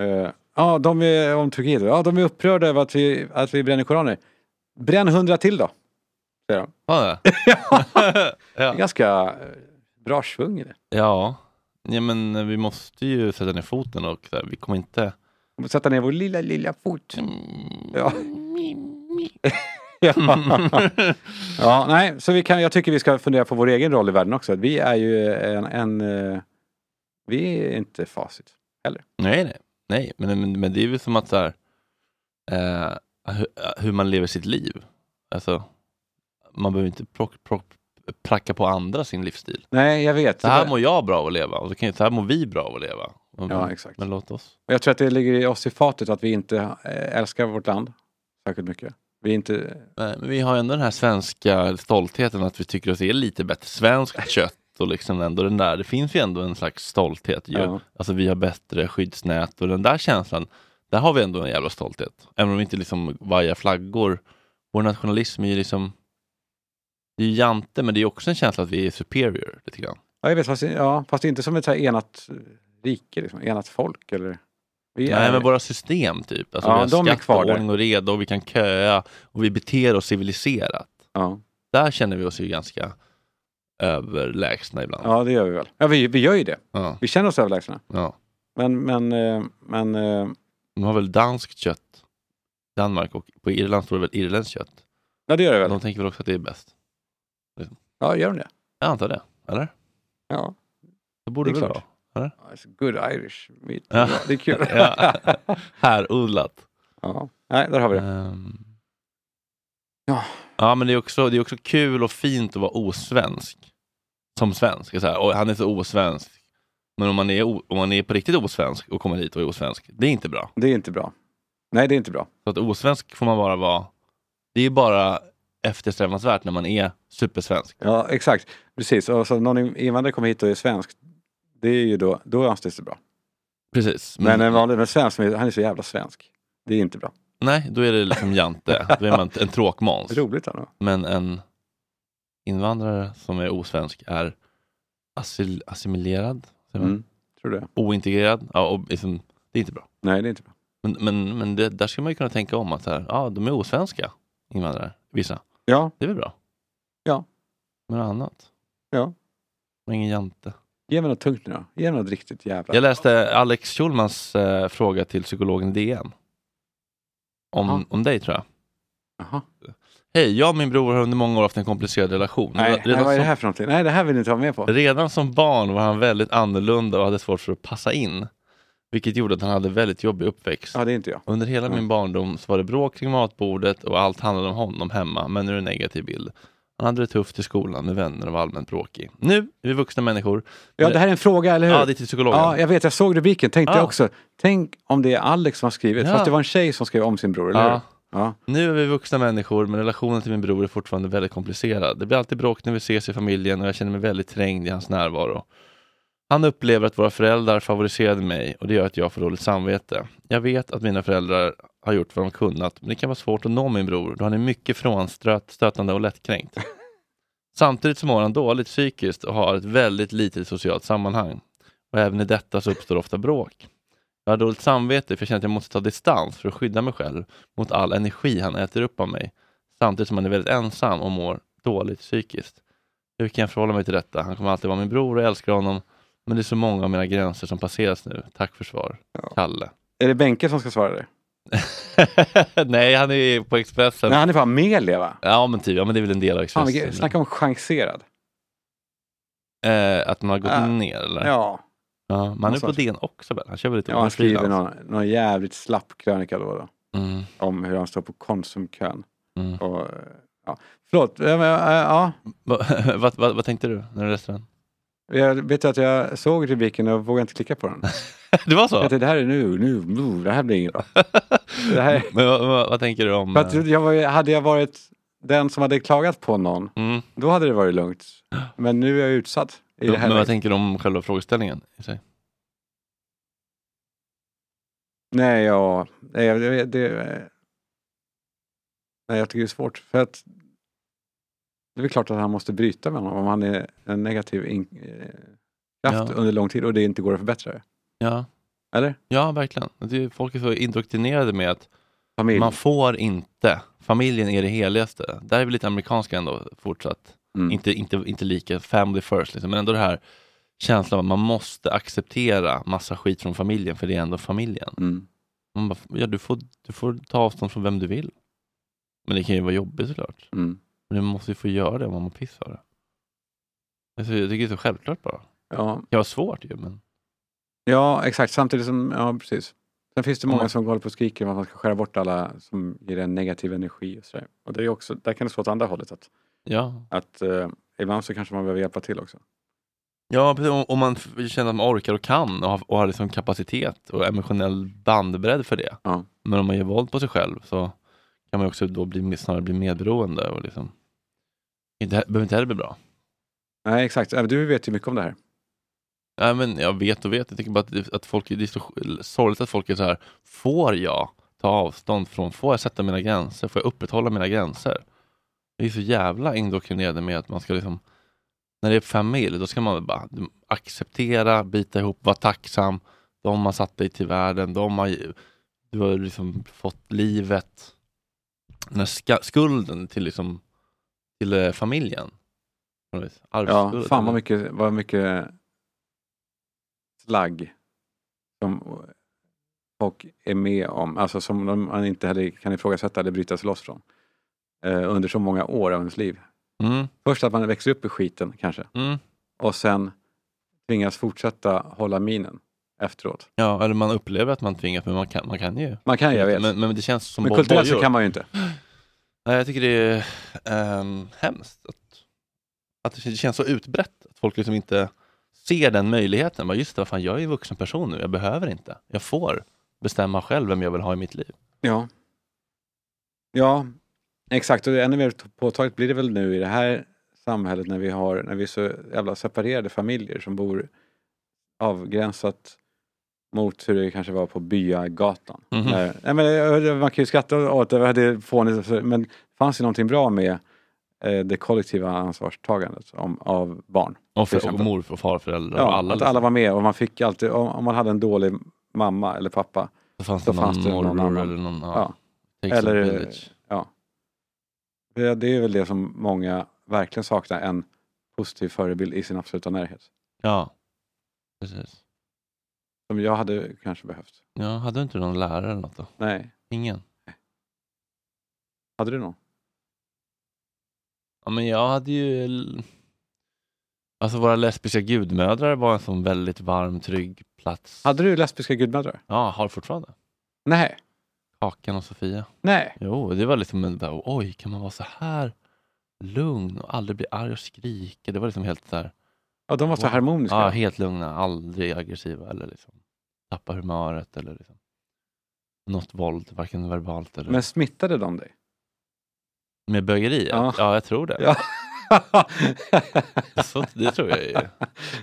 [SPEAKER 3] Eh, ja, de är, om Turkiet, ja de är upprörda över att vi, att vi bränner koraner. Bränn hundra till då! Säger de.
[SPEAKER 2] Var det?
[SPEAKER 3] Det är
[SPEAKER 2] ja.
[SPEAKER 3] ganska eh, bra svung i det.
[SPEAKER 2] ja. Ja, men eh, vi måste ju sätta ner foten och så här, vi kommer inte...
[SPEAKER 3] Om vi Sätta ner vår lilla, lilla fot.
[SPEAKER 2] Mm.
[SPEAKER 3] Ja. [laughs] Ja, nej, så vi kan, jag tycker vi ska fundera på vår egen roll i världen också. Vi är ju en, en eh, vi är inte facit.
[SPEAKER 2] nej, nej. nej. Men, men, men det är väl som att så här, eh, hur, hur man lever sitt liv. Alltså, man behöver inte prock, prock, pracka på andra sin livsstil.
[SPEAKER 3] Nej, jag vet.
[SPEAKER 2] Så här mår jag bra av att leva och så, kan, jag- så här mår vi bra av att leva. Men,
[SPEAKER 3] Ja, exakt.
[SPEAKER 2] men låt oss.
[SPEAKER 3] Och jag tror att det ligger i oss i fatet att vi inte eh, älskar vårt land särskilt mycket. Vi är inte,
[SPEAKER 2] Nej, Men vi har ändå den här svenska stoltheten att vi tycker oss är lite bättre
[SPEAKER 3] [laughs]
[SPEAKER 2] svenskt kött och liksom ändå den där. Det finns ju ändå en slags stolthet. Ju.
[SPEAKER 3] Ja.
[SPEAKER 2] Alltså vi har bättre skyddsnät och den där känslan. Där har vi ändå en jävla stolthet. Även om vi inte liksom vajar flaggor. Vår nationalism är ju liksom det är ju jante, men det är också en känsla att vi är superior lite grann.
[SPEAKER 3] ja, jag vet, fast, ja, fast inte som ett så här enat rike, liksom, enat folk eller. Vi
[SPEAKER 2] Nej,
[SPEAKER 3] är,
[SPEAKER 2] men våra system typ. Alltså,
[SPEAKER 3] Ja,
[SPEAKER 2] vi har
[SPEAKER 3] de är
[SPEAKER 2] skatt
[SPEAKER 3] kvar
[SPEAKER 2] och
[SPEAKER 3] där.
[SPEAKER 2] ordning och reda och vi kan köa och vi beter oss civiliserat.
[SPEAKER 3] ja.
[SPEAKER 2] Där känner vi oss ju ganska överlägsna ibland. Ja.
[SPEAKER 3] ja, det gör vi väl. Ja, vi, vi gör ju det.
[SPEAKER 2] Ja,
[SPEAKER 3] Vi känner oss överlägsna. Men, men, eh, men eh,
[SPEAKER 2] De har väl danskt kött i Danmark och på Irland står det väl irländskt kött.
[SPEAKER 3] ja, det gör vi väl.
[SPEAKER 2] De tänker väl också att det är bäst.
[SPEAKER 3] Ja, gör de det?
[SPEAKER 2] Jag antar det, eller?
[SPEAKER 3] Ja.
[SPEAKER 2] Det borde
[SPEAKER 3] Det är
[SPEAKER 2] väl vara.
[SPEAKER 3] klart. It's good Irish meat.
[SPEAKER 2] Ja.
[SPEAKER 3] Det är kul.
[SPEAKER 2] Ja. Här, odlat.
[SPEAKER 3] [laughs] Ja, nej, där har vi det.
[SPEAKER 2] Ehm.
[SPEAKER 3] Ja.
[SPEAKER 2] ja, men det är, också, det är också kul och fint att vara osvensk. Som svensk. Så här, "Oj, han är så osvensk. Men om man, är, o- om man är på riktigt osvensk och kommer hit och är osvensk, det är inte bra.
[SPEAKER 3] Det är inte bra. Nej, det är inte bra.
[SPEAKER 2] Så att osvensk får man bara vara. Det är bara eftersträvansvärt när man är supersvensk.
[SPEAKER 3] Ja, exakt. Precis. Och så om någon invandrare kommer hit och är svensk, det är ju då, då anses det bra.
[SPEAKER 2] Precis.
[SPEAKER 3] Men en vanlig men svensk, som är- han är så jävla svensk. Det är inte bra.
[SPEAKER 2] nej, då är det liksom
[SPEAKER 3] [laughs]
[SPEAKER 2] jante. Då är man en tråkmåns.
[SPEAKER 3] Roligt ändå.
[SPEAKER 2] Men en invandrare som är osvensk är assil, assimilerad, säger man?
[SPEAKER 3] Mm. Tror du det?
[SPEAKER 2] ointegrerad. Ja, och liksom, det är inte bra.
[SPEAKER 3] Nej, det är inte bra.
[SPEAKER 2] Men, men, men det, där ska man ju kunna tänka om att så här, ja, de är osvenska invandrare, vissa.
[SPEAKER 3] Ja,
[SPEAKER 2] Det är väl bra?
[SPEAKER 3] Ja.
[SPEAKER 2] Men något annat?
[SPEAKER 3] Ja.
[SPEAKER 2] Men ingen jante.
[SPEAKER 3] ge mig något tungt nu då. Ge mig något riktigt jävla...
[SPEAKER 2] Jag läste Alex Schulmans eh, fråga till psykologen i DN.
[SPEAKER 3] Jaha.
[SPEAKER 2] Om, om dig tror jag.
[SPEAKER 3] Jaha.
[SPEAKER 2] Hej, jag och min bror har under många år haft en komplicerad relation.
[SPEAKER 3] Nej, nej,
[SPEAKER 2] redan,
[SPEAKER 3] vad är det
[SPEAKER 2] som,
[SPEAKER 3] här för någonting? Nej, det här vill ni inte vara med på.
[SPEAKER 2] redan som barn var han väldigt annorlunda och hade svårt för att passa in. Vilket gjorde att han hade väldigt jobbig uppväxt.
[SPEAKER 3] Ja, det är inte jag.
[SPEAKER 2] Under hela
[SPEAKER 3] Mm.
[SPEAKER 2] min barndom så var det bråk kring matbordet och allt handlade om honom hemma, men ur en negativ bild. Han hade det tufft i skolan med vänner och var allmänt bråkig. Nu är vi vuxna människor.
[SPEAKER 3] Ja, det här är en fråga, eller hur?
[SPEAKER 2] Ja, det är till psykologen.
[SPEAKER 3] Ja, jag vet, jag såg rubriken, tänkte
[SPEAKER 2] Ja.
[SPEAKER 3] jag också. Tänk om det är Alex som har skrivit,
[SPEAKER 2] Ja.
[SPEAKER 3] fast det var en tjej som skrev om sin bror, eller
[SPEAKER 2] Ja.
[SPEAKER 3] hur? Ja.
[SPEAKER 2] Nu är vi vuxna människor, men relationen till min bror är fortfarande väldigt komplicerad. Det blir alltid bråk när vi ses i familjen och jag känner mig väldigt trängd i hans närvaro. Han upplever att våra föräldrar favoriserade mig och det gör att jag får dåligt samvete. Jag vet att mina föräldrar har gjort vad de kunnat, men det kan vara svårt att nå min bror då han är mycket frånstötande och lättkränkt. Samtidigt så mår han dåligt psykiskt och har ett väldigt litet socialt sammanhang. Och även i detta så uppstår ofta bråk. Jag har dåligt samvete för jag känner att jag måste ta distans för att skydda mig själv mot all energi han äter upp av mig, samtidigt som han är väldigt ensam och mår dåligt psykiskt. Hur kan jag förhålla mig till detta? Han kommer alltid vara min bror och jag älskar honom, men det är så många av mina gränser som passeras nu. Tack för svar, Kalle. [laughs]
[SPEAKER 3] Är det Benke som ska svara det?
[SPEAKER 2] Nej, han är på Expressen.
[SPEAKER 3] Nej, han är på Amelia, va?
[SPEAKER 2] Ja, men typ. Ja, men det är väl en del av
[SPEAKER 3] Fan,
[SPEAKER 2] Expressen.
[SPEAKER 3] vilken, snacka om chanserad.
[SPEAKER 2] eh, att man har gått
[SPEAKER 3] Ja.
[SPEAKER 2] ner, eller?
[SPEAKER 3] Ja,
[SPEAKER 2] Ja, man är på
[SPEAKER 3] Någonstans.
[SPEAKER 2] DN också väl? Han kör väl lite
[SPEAKER 3] ja han skriver
[SPEAKER 2] frilans.
[SPEAKER 3] någon, någon jävligt slapp krönika då, och då
[SPEAKER 2] Mm,
[SPEAKER 3] om hur han står på Konsumkön.
[SPEAKER 2] mm.
[SPEAKER 3] Och, eh, ja. Förlåt, ja, men, eh, ja.
[SPEAKER 2] Va, [laughs] vad, vad, vad tänkte du när du läste den?
[SPEAKER 3] Jag vet att jag såg rubriken och vågade inte klicka på den.
[SPEAKER 2] Det var så? [laughs]
[SPEAKER 3] Jag tänkte, det här är nu, nu, nu, det här blir inget bra. Det här,
[SPEAKER 2] Men vad, vad, vad tänker du om...
[SPEAKER 3] för att
[SPEAKER 2] eh,
[SPEAKER 3] jag var, ju- hade jag varit den som hade klagat på någon,
[SPEAKER 2] mm.
[SPEAKER 3] då hade det varit lugnt. Men nu är jag utsatt i det här
[SPEAKER 2] men vad
[SPEAKER 3] läget.
[SPEAKER 2] tänker du om själva frågeställningen? I sig?
[SPEAKER 3] Nej, ja, nej, jag- det, det, nej, jag tycker det är svårt. För att det är väl klart att han måste bryta med honom om han är en negativ in, eh, kraft
[SPEAKER 2] Ja.
[SPEAKER 3] under lång tid och det inte går att förbättra det.
[SPEAKER 2] Ja.
[SPEAKER 3] Eller?
[SPEAKER 2] ja, verkligen. Det är, ju- folk är så indoktrinerade med att
[SPEAKER 3] Familj.
[SPEAKER 2] man får inte, familjen är det heligaste. Där är vi lite amerikanska ändå fortsatt.
[SPEAKER 3] Mm.
[SPEAKER 2] Inte, inte, inte lika family first, liksom, men ändå det här känslan av att man måste acceptera massa skit från familjen, för det är ändå familjen.
[SPEAKER 3] Mm.
[SPEAKER 2] Man bara, ja, du, får, du får ta avstånd från vem du vill. Men det kan ju vara jobbigt såklart.
[SPEAKER 3] Mm.
[SPEAKER 2] Men du måste ju få göra det om man mår piss för det. Alltså, jag tycker det är så självklart bara. Det
[SPEAKER 3] Ja,
[SPEAKER 2] kan vara svårt ju, men
[SPEAKER 3] ja, exakt. Samtidigt som, ja precis. Sen finns det många
[SPEAKER 2] Ja.
[SPEAKER 3] som håller på och skriker om att man ska skära bort alla som ger en negativ energi. Och, sådär. och det är också, där kan det slå åt andra hållet. Att,
[SPEAKER 2] ja,
[SPEAKER 3] att eh, ibland så kanske man behöver hjälpa till också.
[SPEAKER 2] Ja, precis. Om- om man f- känner att man orkar och kan och har, och har liksom kapacitet och emotionell bandbredd för det.
[SPEAKER 3] Ja.
[SPEAKER 2] Men om man gör våld på sig själv så kan man ju också då bli, snarare bli medberoende och liksom inte, he- behöver inte heller bli bra.
[SPEAKER 3] Nej, exakt. Ja, Du vet ju mycket om det här.
[SPEAKER 2] Nej, men jag vet och vet. Jag tycker bara att, det- att folk, det är så sorgligt att folk är så här. Får jag ta avstånd från, får jag sätta mina gränser? Får jag upprätthålla mina gränser? Vi är så jävla indoktrinerade med att man ska liksom, när det är familj, då ska man väl bara acceptera, bita ihop, vara tacksam. De har satt dig till världen, de har, ju- du har liksom fått livet. Den här ska, skulden till, liksom, till eh, familjen. På något vis.
[SPEAKER 3] Ja,
[SPEAKER 2] Arvsskulden.
[SPEAKER 3] fan vad mycket, vad mycket slagg som eh, folk är med om, alltså som de- man inte heller kan ifrågasätta eller bryta sig loss från eh, under så många år av ens liv.
[SPEAKER 2] Mm,
[SPEAKER 3] Först att man växer upp i skiten kanske
[SPEAKER 2] mm.
[SPEAKER 3] och sen tvingas fortsätta hålla minen efteråt.
[SPEAKER 2] Ja, eller man upplever att man tvingas, men man kan, man kan ju.
[SPEAKER 3] Man kan ju, jag vet. Men,
[SPEAKER 2] Men, men det känns som bo-
[SPEAKER 3] kulturellt så
[SPEAKER 2] bojor.
[SPEAKER 3] kan man ju inte.
[SPEAKER 2] Nej, jag tycker det är ehm, hemskt att, att det känns så utbrett. Att folk liksom inte ser den möjligheten. Bara, just det, vad fan, jag är ju en vuxen person nu. Jag behöver inte. Jag får bestämma själv vem jag vill ha i mitt liv.
[SPEAKER 3] Ja. Ja, exakt. Och det är ännu mer t- påtagligt blir det väl nu i det här samhället när vi, har, när vi är så jävla separerade familjer som bor avgränsat mot hur det kanske var på byagatan.
[SPEAKER 2] Mhm.
[SPEAKER 3] Där- Nej, men, eh, man kan ju skratta åt det, det är fånigt, så- men det fanns ju någonting bra med eh, det kollektiva ansvarstagandet om, av barn.
[SPEAKER 2] Och,
[SPEAKER 3] Till
[SPEAKER 2] för, och
[SPEAKER 3] exempel.
[SPEAKER 2] mor och farföräldrar
[SPEAKER 3] Ja,
[SPEAKER 2] och alla.
[SPEAKER 3] att
[SPEAKER 2] liksom.
[SPEAKER 3] alla var med och man fick alltid, om, om man hade en dålig mamma eller pappa,
[SPEAKER 2] så fanns
[SPEAKER 3] då
[SPEAKER 2] det någon
[SPEAKER 3] fanns det någon
[SPEAKER 2] morbror
[SPEAKER 3] annan.
[SPEAKER 2] eller någon. Ja,
[SPEAKER 3] Ja.
[SPEAKER 2] takes a
[SPEAKER 3] Eller-
[SPEAKER 2] village.
[SPEAKER 3] Det, det är väl det som många verkligen saknar, en positiv förebild i sin absoluta närhet.
[SPEAKER 2] Ja, precis.
[SPEAKER 3] Som jag hade kanske behövt.
[SPEAKER 2] Ja, hade du inte någon lärare eller något då?
[SPEAKER 3] Nej,
[SPEAKER 2] Ingen?
[SPEAKER 3] hade du någon?
[SPEAKER 2] Ja, men jag hade ju... Alltså våra lesbiska gudmödrar var en sån väldigt varm, trygg plats.
[SPEAKER 3] Hade du lesbiska gudmödrar?
[SPEAKER 2] Ja, har fortfarande.
[SPEAKER 3] Nej.
[SPEAKER 2] Kakan och Sofia.
[SPEAKER 3] Nej.
[SPEAKER 2] Jo, det var liksom en, bara, oj, kan man vara så här lugn och aldrig bli arg och skrika? Det var liksom helt så här,
[SPEAKER 3] Ja, de var så
[SPEAKER 2] Wow. Ah,
[SPEAKER 3] harmoniska.
[SPEAKER 2] ja, helt lugna, aldrig aggressiva eller liksom tappa humöret eller liksom något våld, varken verbalt eller
[SPEAKER 3] Men smittade de dig?
[SPEAKER 2] med bögeri.
[SPEAKER 3] Ja.
[SPEAKER 2] Ja. ja, jag tror det.
[SPEAKER 3] [laughs] Ja.
[SPEAKER 2] Så, det tror jag ju.
[SPEAKER 3] [laughs] nej,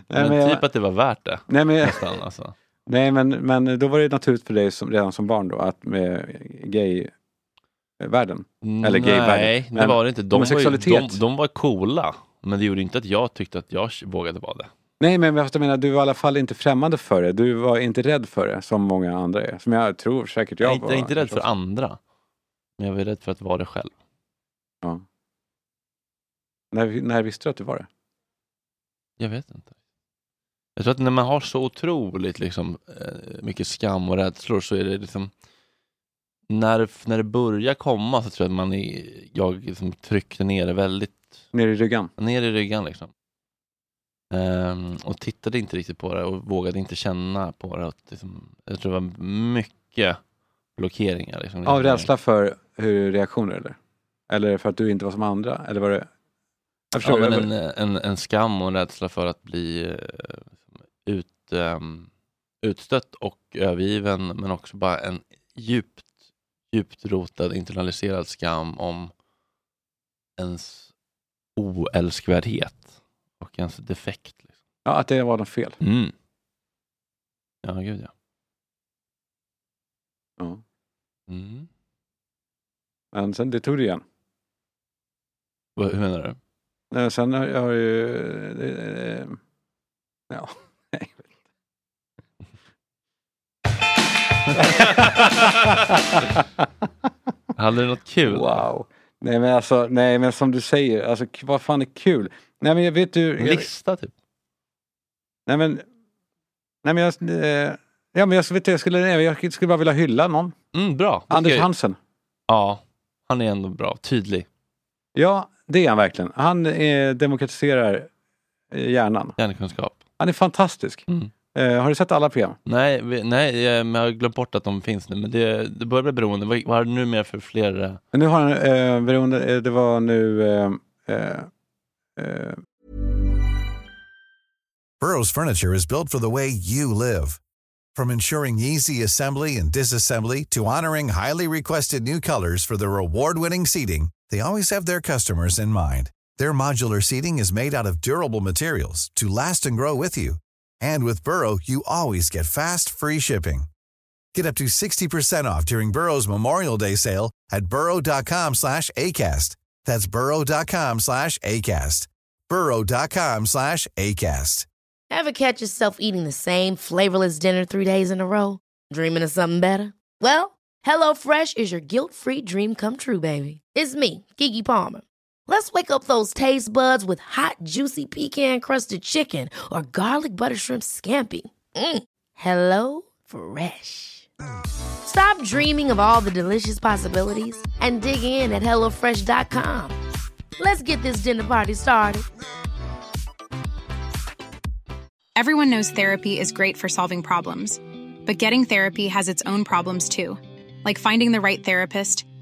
[SPEAKER 2] Men,
[SPEAKER 3] men,
[SPEAKER 2] typ att det var värt det.
[SPEAKER 3] nej, men,
[SPEAKER 2] Nästan, alltså.
[SPEAKER 3] nej men, men då var det naturligt för dig som, redan som barn då att med gay-världen? Eller gay
[SPEAKER 2] Mm, Nej, det
[SPEAKER 3] världen. Men
[SPEAKER 2] var det inte. De var, ju, de,
[SPEAKER 3] homosexualitet.
[SPEAKER 2] de var coola, men det gjorde inte att jag tyckte att jag vågade vara det.
[SPEAKER 3] Nej, men fast jag menar, du var i alla fall inte främmande för det. Du var inte rädd för det, som många andra är. Som jag tror säkert jag
[SPEAKER 2] Jag,
[SPEAKER 3] var.
[SPEAKER 2] är inte rädd för
[SPEAKER 3] förstås.
[SPEAKER 2] andra, men jag var rädd för att vara det själv.
[SPEAKER 3] Ja. När, när visste du att du var det?
[SPEAKER 2] Jag vet inte. Jag tror att när man har så otroligt liksom, eh, mycket skam och rädslor så är det liksom när, när det börjar komma så tror jag att man är, jag liksom tryckte ner det väldigt
[SPEAKER 3] Ner i ryggen?
[SPEAKER 2] ner i ryggen liksom. Ehm, och tittade inte riktigt på det och vågade inte känna på det. Och liksom, jag tror det var mycket blockeringar. Liksom.
[SPEAKER 3] Av rädsla för hur reaktioner eller? Eller för att du inte var som andra? Eller var det... Jag
[SPEAKER 2] Ja,
[SPEAKER 3] förstår.
[SPEAKER 2] men
[SPEAKER 3] jag-
[SPEAKER 2] en, en, en skam och en rädsla för att bli eh, ut, ehm, utstött och övergiven. Men också bara en djupt, djupt rotad internaliserad skam om ens oälskvärdhet och ens defekt. Liksom.
[SPEAKER 3] ja, att det var något fel.
[SPEAKER 2] Mm. Ja, gud ja.
[SPEAKER 3] Ja.
[SPEAKER 2] Mm.
[SPEAKER 3] Men sen, det tog du igen.
[SPEAKER 2] Vad- Hur menar du?
[SPEAKER 3] Nej, men Eh, Sen har jag har ju... eh, Ja, nej.
[SPEAKER 2] Hade du något kul?
[SPEAKER 3] Wow. Nej men alltså, nej men som du säger, alltså k- vad fan är kul? Nej men jag vet du...
[SPEAKER 2] En
[SPEAKER 3] Jag,
[SPEAKER 2] Lista typ?
[SPEAKER 3] nej men... Nej men jag... eh, Ja men jag, vet du, jag, skulle, nej, jag skulle bara vilja hylla någon.
[SPEAKER 2] Mm, bra. Det
[SPEAKER 3] Anders
[SPEAKER 2] ska jag-
[SPEAKER 3] Hansen.
[SPEAKER 2] Ja, han är ändå bra. Tydlig.
[SPEAKER 3] Ja, det är han verkligen. Han eh, demokratiserar eh, hjärnan.
[SPEAKER 2] Hjärnkunskap.
[SPEAKER 3] Han är fantastisk.
[SPEAKER 2] Mm.
[SPEAKER 3] Eh, har du sett alla program?
[SPEAKER 2] Nej, vi, nej, eh, men jag har glömt bort att de finns nu. Men det, det börjar bli beroende. Vad, vad är det numera för fler? eh,
[SPEAKER 3] Nu har han, eh, beroende, eh, det var nu... Eh, eh, eh,
[SPEAKER 4] Burrow's furniture is built for the way you live. From ensuring easy assembly and disassembly to honoring highly requested new colors for their award-winning seating, they always have their customers in mind. Their modular seating is made out of durable materials to last and grow with you. And with Burrow, you always get fast, free shipping. Get up to 60% off during Burrow's Memorial Day sale at burrow.com slash ACAST. That's burrow.com slash ACAST. burrow.com slash ACAST.
[SPEAKER 5] Ever catch yourself eating the same flavorless dinner three days in a row? Dreaming of something better? Well, HelloFresh is your guilt-free dream come true, baby. It's me, Gigi Palmer. Let's wake up those taste buds with hot, juicy pecan-crusted chicken or garlic butter shrimp scampi. Mm. Hello Fresh. Stop dreaming of all the delicious possibilities and dig in at HelloFresh.com. Let's get this dinner party started.
[SPEAKER 6] Everyone knows therapy is great for solving problems, but getting therapy has its own problems too, like finding the right therapist,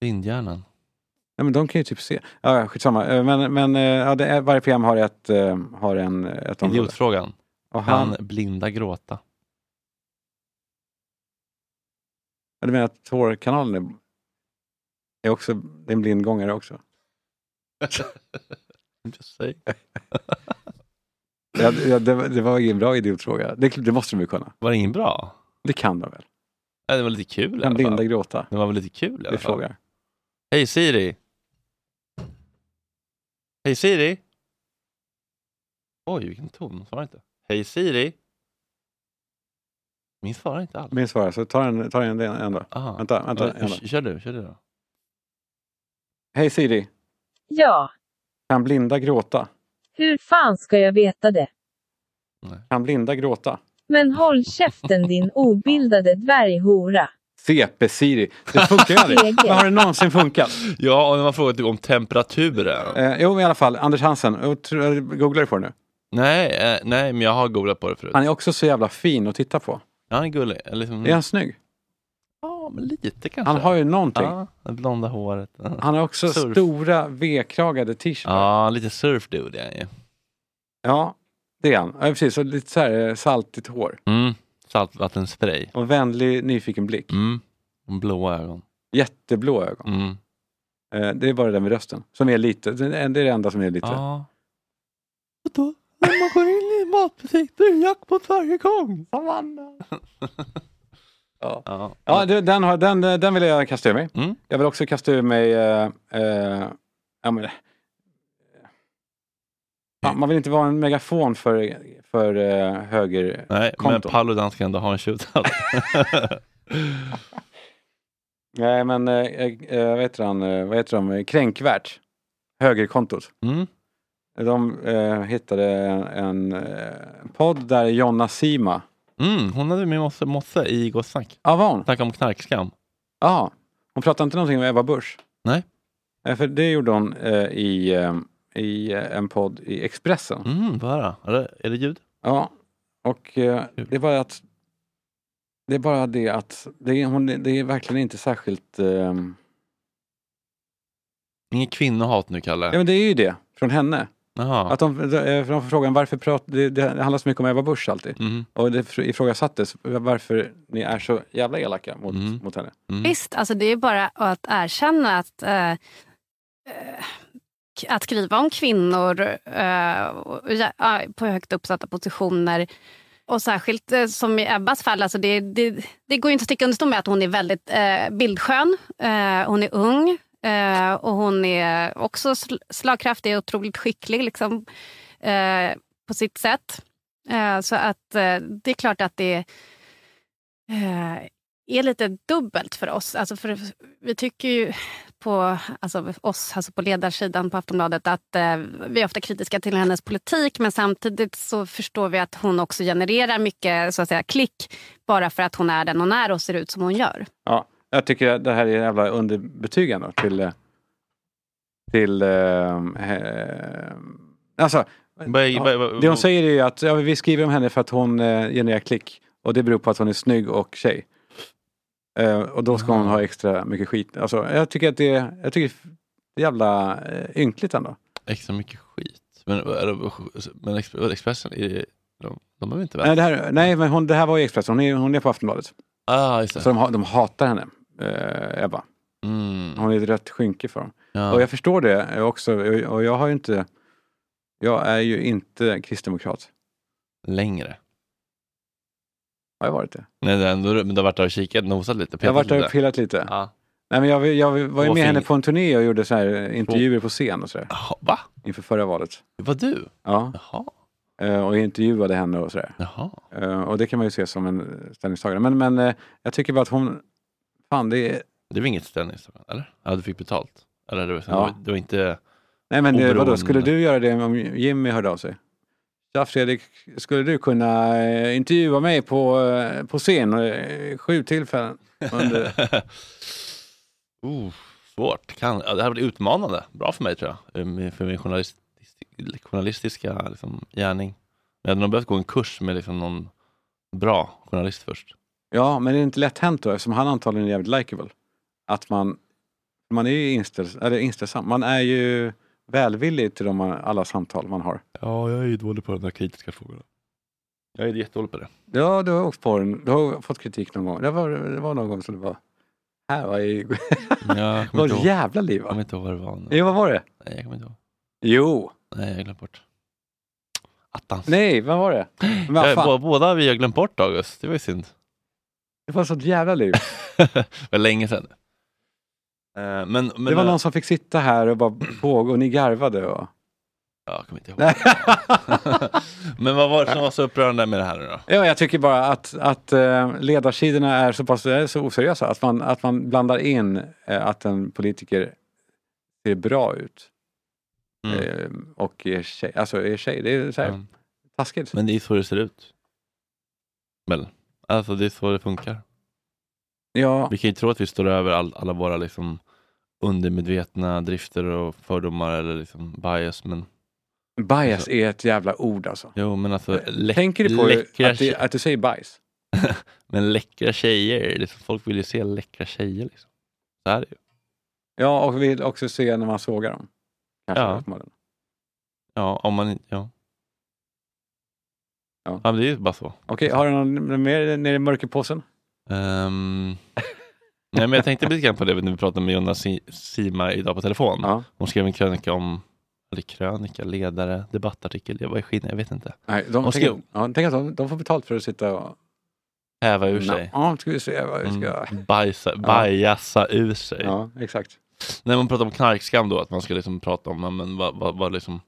[SPEAKER 2] Blindhjärnan.
[SPEAKER 3] Nej, men de kan ju typ se. Ja, ja, skitsamma. Eh, Men, men eh, ja, det är, varje program har ett, eh, har en, ett område.
[SPEAKER 2] Idiotfrågan.
[SPEAKER 3] Och han,
[SPEAKER 2] Kan blinda gråta?
[SPEAKER 3] ja, du menar att tårkanalen är, är också det är en blindgångare också?
[SPEAKER 2] Just say.
[SPEAKER 3] Ja, det- ja, det, var- det var ingen bra idiotfråga. Det, det måste de ju kunna.
[SPEAKER 2] Var det ingen bra?
[SPEAKER 3] Det kan de väl?
[SPEAKER 2] Nej, det var lite kul i
[SPEAKER 3] Kan
[SPEAKER 2] alla
[SPEAKER 3] blinda
[SPEAKER 2] fall.
[SPEAKER 3] gråta?
[SPEAKER 2] Det var väl lite kul i
[SPEAKER 3] Vi
[SPEAKER 2] alla fall.
[SPEAKER 3] frågar.
[SPEAKER 2] Hej Siri. Hej Siri. Oj, vilken ton. Hon svarar inte. Hej Siri! Min svarar inte alls.
[SPEAKER 3] Min svar, så ta den, ta den ändå.
[SPEAKER 2] Ah.
[SPEAKER 3] Vänta, vänta,
[SPEAKER 2] Ja,
[SPEAKER 3] vänta.
[SPEAKER 2] Kör du, kör du då.
[SPEAKER 3] Hej Siri,
[SPEAKER 7] Ja,
[SPEAKER 3] kan blinda gråta?
[SPEAKER 7] hur fan ska jag veta det?
[SPEAKER 3] Kan blinda gråta?
[SPEAKER 7] Men håll käften din obildade dvärghora.
[SPEAKER 3] CP-Siri,
[SPEAKER 2] [laughs]
[SPEAKER 3] det funkar ju aldrig.
[SPEAKER 7] Egen.
[SPEAKER 3] Men har det någonsin funkat?
[SPEAKER 2] [laughs] Ja, och när man frågar typ om temperaturen.
[SPEAKER 3] Eh, jo, i alla fall, Anders Hansen, jag tror- jag googlar du på det nu.
[SPEAKER 2] Nej, eh, nej, men jag har googlat på det förut.
[SPEAKER 3] Han är också så jävla fin att titta på.
[SPEAKER 2] Han är gullig. Eller Liksom,
[SPEAKER 3] Är han snygg?
[SPEAKER 2] Ja, men lite kanske. Ah.
[SPEAKER 3] Han har ju någonting.
[SPEAKER 2] Ja, det blonda håret. Ja,
[SPEAKER 3] Han har också
[SPEAKER 2] Surf.
[SPEAKER 3] stora V-kragade t-shirts.
[SPEAKER 2] lite surfdude är han ju.
[SPEAKER 3] Ja, det är han. Ja, precis. Och lite så här eh, saltigt hår.
[SPEAKER 2] Mm. Saltvattenspray.
[SPEAKER 3] Och vänlig, nyfiken blick.
[SPEAKER 2] Mm. Och Blåa ögon.
[SPEAKER 3] Jätteblå ögon.
[SPEAKER 2] Mm.
[SPEAKER 3] Eh, Det är bara det där med rösten. Som är lite, det är det enda som är lite.
[SPEAKER 2] Ja. Och då, när man går in i en matbutik, då är det jackpot varje gång.
[SPEAKER 3] Ja.
[SPEAKER 2] [laughs] Ja.
[SPEAKER 3] Ja, det- den, har, den, eh, den vill jag kasta ur mig.
[SPEAKER 2] Mm.
[SPEAKER 3] Jag vill också kasta ur mig... eh, eh, ja, men, ja, man vill inte vara en megafon för, för eh, höger...
[SPEAKER 2] Nej, men
[SPEAKER 3] konton.
[SPEAKER 2] Paludan ska ändå ha en shootout.
[SPEAKER 3] Nej, men eh, eh, vad heter han? eh, Vad heter de? Kränkvärt. Högerkontot.
[SPEAKER 2] [laughs] mm.
[SPEAKER 3] De eh, hittade en eh, podd där Jonna Sima...
[SPEAKER 2] Mm. Hon hade med Mosse, Mosse i Gott snack.
[SPEAKER 3] Ja, var hon?
[SPEAKER 2] Snacka om knarkskam.
[SPEAKER 3] Ja. Hon pratade inte någonting om Ebba Busch.
[SPEAKER 2] Nej.
[SPEAKER 3] Eh, för det gjorde hon eh, i, eh, i eh, en podd i Expressen.
[SPEAKER 2] Mm, vad är det? Är det, är det ljud?
[SPEAKER 3] Ja, och eh, det är bara att det är bara det att det är, hon, det är verkligen inte särskilt... Eh, ja,
[SPEAKER 2] Inget kvinnohat nu, Kalle.
[SPEAKER 3] men det är ju det från henne.
[SPEAKER 2] Jaha.
[SPEAKER 3] Att de, de, eh, för de får frågan varför prat, det, det handlar så mycket om Ebba Busch alltid.
[SPEAKER 2] Mm.
[SPEAKER 3] Och det fr- ifrågasattes varför ni är så jävla elaka mot,
[SPEAKER 2] Mm.
[SPEAKER 3] mot henne.
[SPEAKER 2] Mm.
[SPEAKER 8] Visst, alltså det är bara att erkänna att, eh, eh, k- att skriva om kvinnor eh, och, ja, ja, på högt uppsatta positioner och särskilt eh, som i Ebbas fall, alltså det, det, det går ju inte att sticka under stol med att hon är väldigt eh, bildskön, eh, hon är ung eh, och hon är också sl- slagkraftig och otroligt skicklig liksom, eh, på sitt sätt. Eh, så att eh, det är klart att det eh, är lite dubbelt för oss. Alltså för, vi tycker ju på alltså oss, alltså på ledarsidan på Aftonbladet att eh, vi är ofta kritiska till hennes politik men samtidigt så förstår vi att hon också genererar mycket så att säga, klick bara för att hon är den hon är och ser ut som hon gör.
[SPEAKER 3] Ja, jag tycker att det här är jävla underbetygande till... eh, till eh, eh, alltså,
[SPEAKER 2] Vad-
[SPEAKER 3] Ja,
[SPEAKER 2] vad- vad-
[SPEAKER 3] Det hon säger är ju att ja, men vi skriver om henne för att hon eh, genererar klick och det beror på att hon är snygg och tjej. Eh, och då ska hon
[SPEAKER 2] Ah.
[SPEAKER 3] ha extra mycket skit. Alltså, jag tycker att det, jag tycker det är jävla eh, ynkligt ändå.
[SPEAKER 2] Extra mycket skit. Men, vad är det- men Exp- Expressen, är det, de, de är väl inte
[SPEAKER 3] Nej,
[SPEAKER 2] värda?
[SPEAKER 3] det här, nej men hon, det här var ju Expressen, hon är, hon är på Aftonbladet.
[SPEAKER 2] Ah, just
[SPEAKER 3] Så
[SPEAKER 2] det.
[SPEAKER 3] de, ha- de hatar henne, eh, Ebba.
[SPEAKER 2] Mm.
[SPEAKER 3] Hon är ett rött skynke för dem. Och
[SPEAKER 2] Ja.
[SPEAKER 3] jag förstår det eh, också, och- och jag har ju inte, jag är ju inte kristdemokrat.
[SPEAKER 2] Längre.
[SPEAKER 3] Har jag varit det?
[SPEAKER 2] Nej, det är ändå, men du har varit där och kikat, nosat lite.
[SPEAKER 3] Jag har varit
[SPEAKER 2] petat
[SPEAKER 3] där
[SPEAKER 2] lite.
[SPEAKER 3] och pillat lite.
[SPEAKER 2] Ja.
[SPEAKER 3] Nej, men jag, jag var ju
[SPEAKER 2] Två
[SPEAKER 3] med henne
[SPEAKER 2] fing-
[SPEAKER 3] på en turné och gjorde så här intervjuer på scen och sådär.
[SPEAKER 2] Jaha, Va?
[SPEAKER 3] inför förra valet.
[SPEAKER 2] Det var du?
[SPEAKER 3] Ja,
[SPEAKER 2] Jaha.
[SPEAKER 3] eh, och jag intervjuade henne och sådär.
[SPEAKER 2] Jaha.
[SPEAKER 3] Eh, Och det kan man ju se som en eh, ställningstagande. Men, men eh, jag tycker bara att hon, fan det är,
[SPEAKER 2] Det var inget ställningstagande, eller? Ja, du fick betalt. Eller det var,
[SPEAKER 3] Ja.
[SPEAKER 2] det var, det var inte... [laughs]
[SPEAKER 3] nej men eh, vadå,
[SPEAKER 2] Oberoende.
[SPEAKER 3] skulle du göra det om Jimmy hörde av sig? Tja Fredrik, skulle du kunna eh, intervjua mig på, eh, på scen eh, sju tillfällen? Under...
[SPEAKER 2] uh, svårt. Kan, ja, det här blir utmanande. Bra för mig, tror jag. Ehm, För min journalist, journalistiska liksom, gärning. Jag hade nog behövt gå en kurs med liksom, någon bra journalist först.
[SPEAKER 3] Ja, men det är inte lätt hänt då eftersom han antagligen är jävligt likeable. Att man, man är ju inställ, eller inställsam, man är ju välvillig till de, alla samtal man har.
[SPEAKER 2] Ja, jag är ju dålig på de där kritiska frågorna. Jag är jättedålig på det.
[SPEAKER 3] Ja, du har åkt på den. Du har fått kritik någon gång. Det var, det var någon gång som du bara, här var ju, [laughs]
[SPEAKER 2] Jag kommer
[SPEAKER 3] var
[SPEAKER 2] inte
[SPEAKER 3] det
[SPEAKER 2] ihåg,
[SPEAKER 3] jävla liv
[SPEAKER 2] jag kommer
[SPEAKER 3] va?
[SPEAKER 2] inte ihåg vad det var. nu.
[SPEAKER 3] Jo, vad var det?
[SPEAKER 2] Nej, jag kommer inte ihåg.
[SPEAKER 3] Jo,
[SPEAKER 2] Nej, jag har glömt bort. Attans.
[SPEAKER 3] nej, vad var det? Men vad
[SPEAKER 2] jag,
[SPEAKER 3] fan,
[SPEAKER 2] bå- båda vi har glömt bort, August. Det var ju synd. [laughs]
[SPEAKER 3] det var sånt jävla liv.
[SPEAKER 2] det var länge sedan. Eh, [laughs] Men, eh- men,
[SPEAKER 3] Det var någon som fick sitta här och [laughs] bara pågå och ni garvade. Och,
[SPEAKER 2] Ja, jag kommer inte ihåg. [laughs] Men vad var det som var så upprörande med det här nu då?
[SPEAKER 3] Ja, jag tycker bara att, att eh, ledarsidorna är så pass är så oseriösa att man, att man blandar in eh, att en politiker ser bra ut
[SPEAKER 2] Mm.
[SPEAKER 3] eh, och är tjej. Alltså är tjej, det är så här
[SPEAKER 2] Mm.
[SPEAKER 3] taskigt.
[SPEAKER 2] Men det är så det ser ut. Väl? Alltså det är så det funkar.
[SPEAKER 3] ja,
[SPEAKER 2] Vi kan ju tro att vi står över all, alla våra liksom undermedvetna drifter och fördomar eller liksom bias. Men
[SPEAKER 3] bias är ett jävla ord alltså.
[SPEAKER 2] jo, men alltså lä-
[SPEAKER 3] Tänker du på
[SPEAKER 2] läckra,
[SPEAKER 3] att, det,
[SPEAKER 2] tje-
[SPEAKER 3] att du säger bajs?
[SPEAKER 2] men läckra tjejer. Liksom, folk vill ju se läckra tjejer. Liksom. Så här är det ju.
[SPEAKER 3] Ja, och vill också se när man sågar dem. Kanske,
[SPEAKER 2] Ja.
[SPEAKER 3] uppenbarligen.
[SPEAKER 2] Ja, om man inte... Ja.
[SPEAKER 3] Ja.
[SPEAKER 2] Ja. men det är ju bara så.
[SPEAKER 3] Okej, har du någon mer nere i mörkerpåsen? [laughs]
[SPEAKER 2] Ehm, nej, men jag tänkte lite grann på det när vi pratade med Jonas Si- Sima idag på telefon.
[SPEAKER 3] Ja.
[SPEAKER 2] Hon skrev en krönika om, eller krönika, ledare, debattartikel, jag var i skinn, jag vet inte.
[SPEAKER 3] Nej, de,
[SPEAKER 2] Och
[SPEAKER 3] tänk,
[SPEAKER 2] skrev-
[SPEAKER 3] ja, tänk att de, de får betalt för att sitta och...
[SPEAKER 2] Häva ur sig.
[SPEAKER 3] Ja, ska vi se vad vi ska...
[SPEAKER 2] Mm, bajsa, bajasa ur sig.
[SPEAKER 3] Ja, exakt.
[SPEAKER 2] När man pratar om knarkskam då, att man ska liksom prata om ja, men, vad, vad, vad liksom,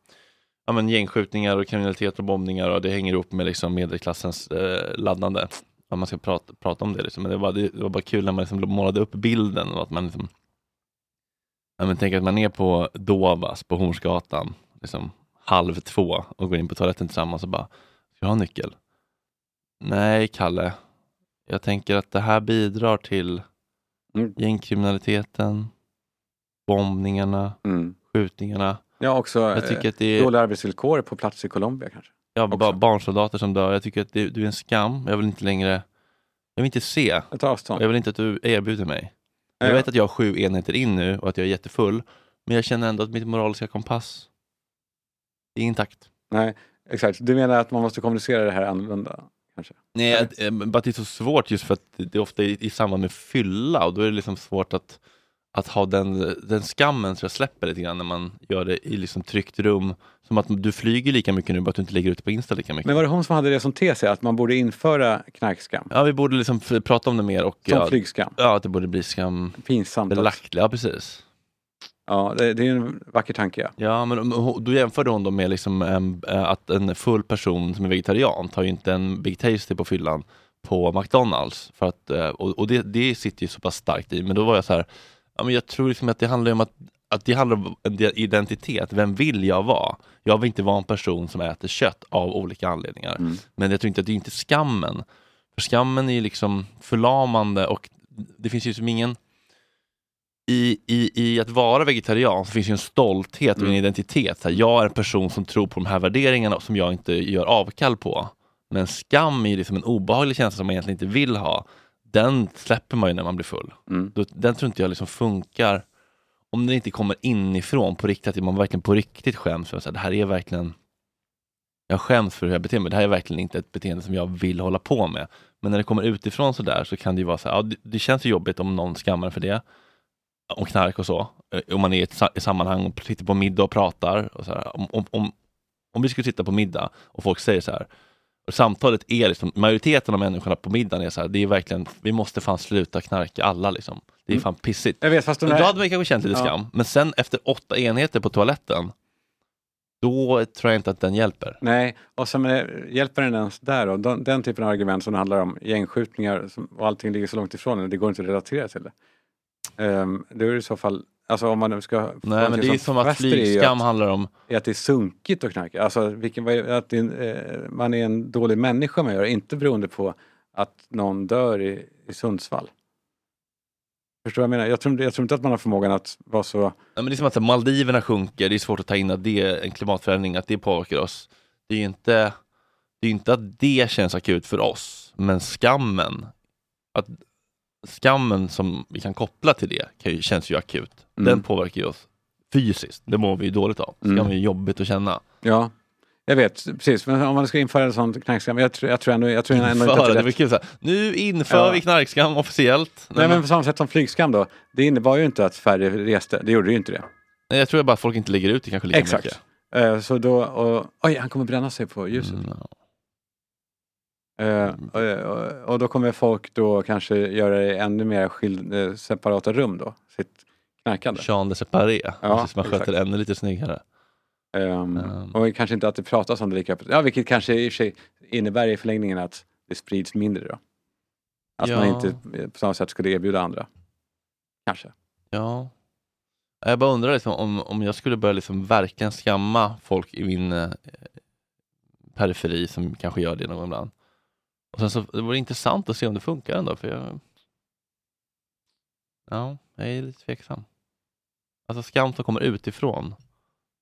[SPEAKER 2] ja, men, gängskjutningar och kriminalitet och bombningar och det hänger ihop med liksom, medelklassens eh, laddande. Ja, man ska prata, prata om det. Liksom. Men det var, det var bara kul när man liksom målade upp bilden. Och att man liksom, ja, men, tänk att man är på Dovas på Hornsgatan liksom, halv två och går in på toaletten tillsammans och bara, ska jag ha en nyckel? Nej, Kalle. Jag tänker att det här bidrar till
[SPEAKER 3] Mm.
[SPEAKER 2] gängkriminaliteten, bombningarna,
[SPEAKER 3] Mm.
[SPEAKER 2] skjutningarna.
[SPEAKER 3] Ja, också
[SPEAKER 2] Jag tycker att det
[SPEAKER 3] eh,
[SPEAKER 2] är
[SPEAKER 3] dåliga arbetsvillkor på plats i Colombia kanske.
[SPEAKER 2] ja, ba-
[SPEAKER 3] också.
[SPEAKER 2] barnsoldater som dör. Jag tycker att det, du är en skam. Jag vill inte längre, jag vill inte se.
[SPEAKER 3] Jag tar avstånd.
[SPEAKER 2] Jag vill inte att du erbjuder mig.
[SPEAKER 3] Eh,
[SPEAKER 2] Jag vet att jag har sju enheter in nu och att jag är jättefull. Men jag känner ändå att mitt moraliska kompass är intakt.
[SPEAKER 3] Nej, exakt. Du menar att man måste kommunicera det här annorlunda?
[SPEAKER 2] Nej, att, eh, bara att det är så svårt just för att det är ofta i, i samband med fylla och då är det liksom svårt att, att ha den, den skammen så jag släpper lite grann när man gör det i liksom tryggt rum. Som att du flyger lika mycket nu bara att du inte lägger ut det på Insta lika mycket.
[SPEAKER 3] Men var det hon som hade det som tes, att man borde införa knarkskam?
[SPEAKER 2] Ja, vi borde liksom f- prata om det mer och
[SPEAKER 3] Som
[SPEAKER 2] ja,
[SPEAKER 3] flygskam?
[SPEAKER 2] ja, att det borde bli skambelagt.
[SPEAKER 3] Pinsamt. Att,
[SPEAKER 2] Ja, precis.
[SPEAKER 3] ja, det, det är ju en vacker tanke. Ja.
[SPEAKER 2] Ja, men om- ho- då jämförde hon då med liksom, em, eh, att en full person som är vegetarian tar ju inte en Big Tasty på fyllan på McDonalds. För att, eh, och och det, det sitter ju så pass starkt i. Men då var jag så här, ja, men jag tror liksom att det handlar om att att det handlar om en del- identitet, vem vill jag vara? Jag vill inte vara en person som äter kött av olika anledningar.
[SPEAKER 3] Mm.
[SPEAKER 2] Men jag tror inte att det är inte skammen. För skammen är ju liksom förlamande och det finns ju som ingen... I, i, I att vara vegetarian så finns ju en stolthet och en
[SPEAKER 3] Mm.
[SPEAKER 2] identitet. Så här, jag är en person som tror på de här värderingarna som jag inte gör avkall på. Men skam är ju liksom en obehaglig känsla som man egentligen inte vill ha. Den släpper man ju när man blir full.
[SPEAKER 3] Mm.
[SPEAKER 2] Då, den tror inte jag liksom funkar om den inte kommer inifrån på riktigt, att man verkligen på riktigt skäms för att så här, det här är verkligen, jag skäms för hur jag beter mig, det här är verkligen inte ett beteende som jag vill hålla på med. Men när det kommer utifrån så där så kan det ju vara så här, ja, det, det känns ju jobbigt om någon skammar en för det, om knark och så, Eh, om man är i ett sa- i sammanhang och sitter på middag och pratar. Och så här. Om, om, om, om vi skulle sitta på middag och folk säger så här, och samtalet är liksom, majoriteten av människorna på middagen är så här, det är verkligen, vi måste fan sluta knarka alla liksom. Det är fan pissigt.
[SPEAKER 3] Jag vet, fast de
[SPEAKER 2] Men Då hade
[SPEAKER 3] här,
[SPEAKER 2] man kanske känt lite
[SPEAKER 3] Ja.
[SPEAKER 2] skam. Men sen efter åtta enheter på toaletten, då tror jag inte att den hjälper.
[SPEAKER 3] Nej, och sen är- hjälper den ens där då? Den, den typen av argument som handlar om gängskjutningar som, och allting ligger så långt ifrån en, det går inte att relatera till det. Um, det är det i så fall, alltså om man nu ska... få
[SPEAKER 2] Nej, men
[SPEAKER 3] någonting
[SPEAKER 2] det är som att
[SPEAKER 3] fäster i att-
[SPEAKER 2] flygskam handlar om,
[SPEAKER 3] är att det är sunkigt att knarka. Alltså vilken, vad är- att det är, en, eh, man är en dålig människa man gör, inte beroende på att någon dör i, i Sundsvall. Förstår du vad jag menar? Jag tror, inte- jag tror inte att man har förmågan att vara så...
[SPEAKER 2] Nej, men det är som att så här, Maldiverna sjunker, det är svårt att ta in att det är en klimatförändring, att det påverkar oss. Det är ju inte, det är inte att det känns akut för oss, men skammen, att skammen som vi kan koppla till det kan ju, känns ju akut.
[SPEAKER 3] Mm.
[SPEAKER 2] Den påverkar ju oss fysiskt, det mår vi ju dåligt av. Skam
[SPEAKER 3] Mm.
[SPEAKER 2] är ju jobbigt att känna.
[SPEAKER 3] Ja, jag vet, precis. Men om man ska införa en sån knarkskam, jag, tror- jag tror ändå, jag tror ändå inte att
[SPEAKER 2] Införa,
[SPEAKER 3] det
[SPEAKER 2] det
[SPEAKER 3] är
[SPEAKER 2] var
[SPEAKER 3] rätt.
[SPEAKER 2] kul, så här, nu inför
[SPEAKER 3] Ja.
[SPEAKER 2] vi knarkskam officiellt. Nej,
[SPEAKER 3] Nej, men
[SPEAKER 2] men,
[SPEAKER 3] på samma sätt som flygskam då, det innebar ju inte att färre reste, det gjorde ju inte det.
[SPEAKER 2] nej, jag tror bara att folk inte lägger ut det kanske lika
[SPEAKER 3] Exakt.
[SPEAKER 2] mycket.
[SPEAKER 3] Eh, så då, och, oj, han kommer bränna sig på ljuset.
[SPEAKER 2] Mm, ja.
[SPEAKER 3] Eh, och, och- och då kommer folk då kanske göra det ännu mer skild, eh, separata rum då, sitt knarkande.
[SPEAKER 2] Jean de Separé,
[SPEAKER 3] Ja,
[SPEAKER 2] precis, man sköter
[SPEAKER 3] exakt.
[SPEAKER 2] det ännu lite snyggare.
[SPEAKER 3] Ehm,
[SPEAKER 2] Ehm.
[SPEAKER 3] Och kanske inte att det pratas om det lika öppet. Ja, vilket kanske i och för sig innebär i förlängningen att det sprids mindre då. Att man
[SPEAKER 2] Ja.
[SPEAKER 3] inte eh, på samma sätt skulle erbjuda andra. Kanske.
[SPEAKER 2] Ja. Jag bara undrar liksom, om, om jag skulle börja liksom verkligen skamma folk i min eh, periferi som kanske gör det någon gång ibland. Och sen så, det vore intressant att se om det funkar ändå. För jag, ja, jag är lite tveksam. Alltså skam som kommer utifrån.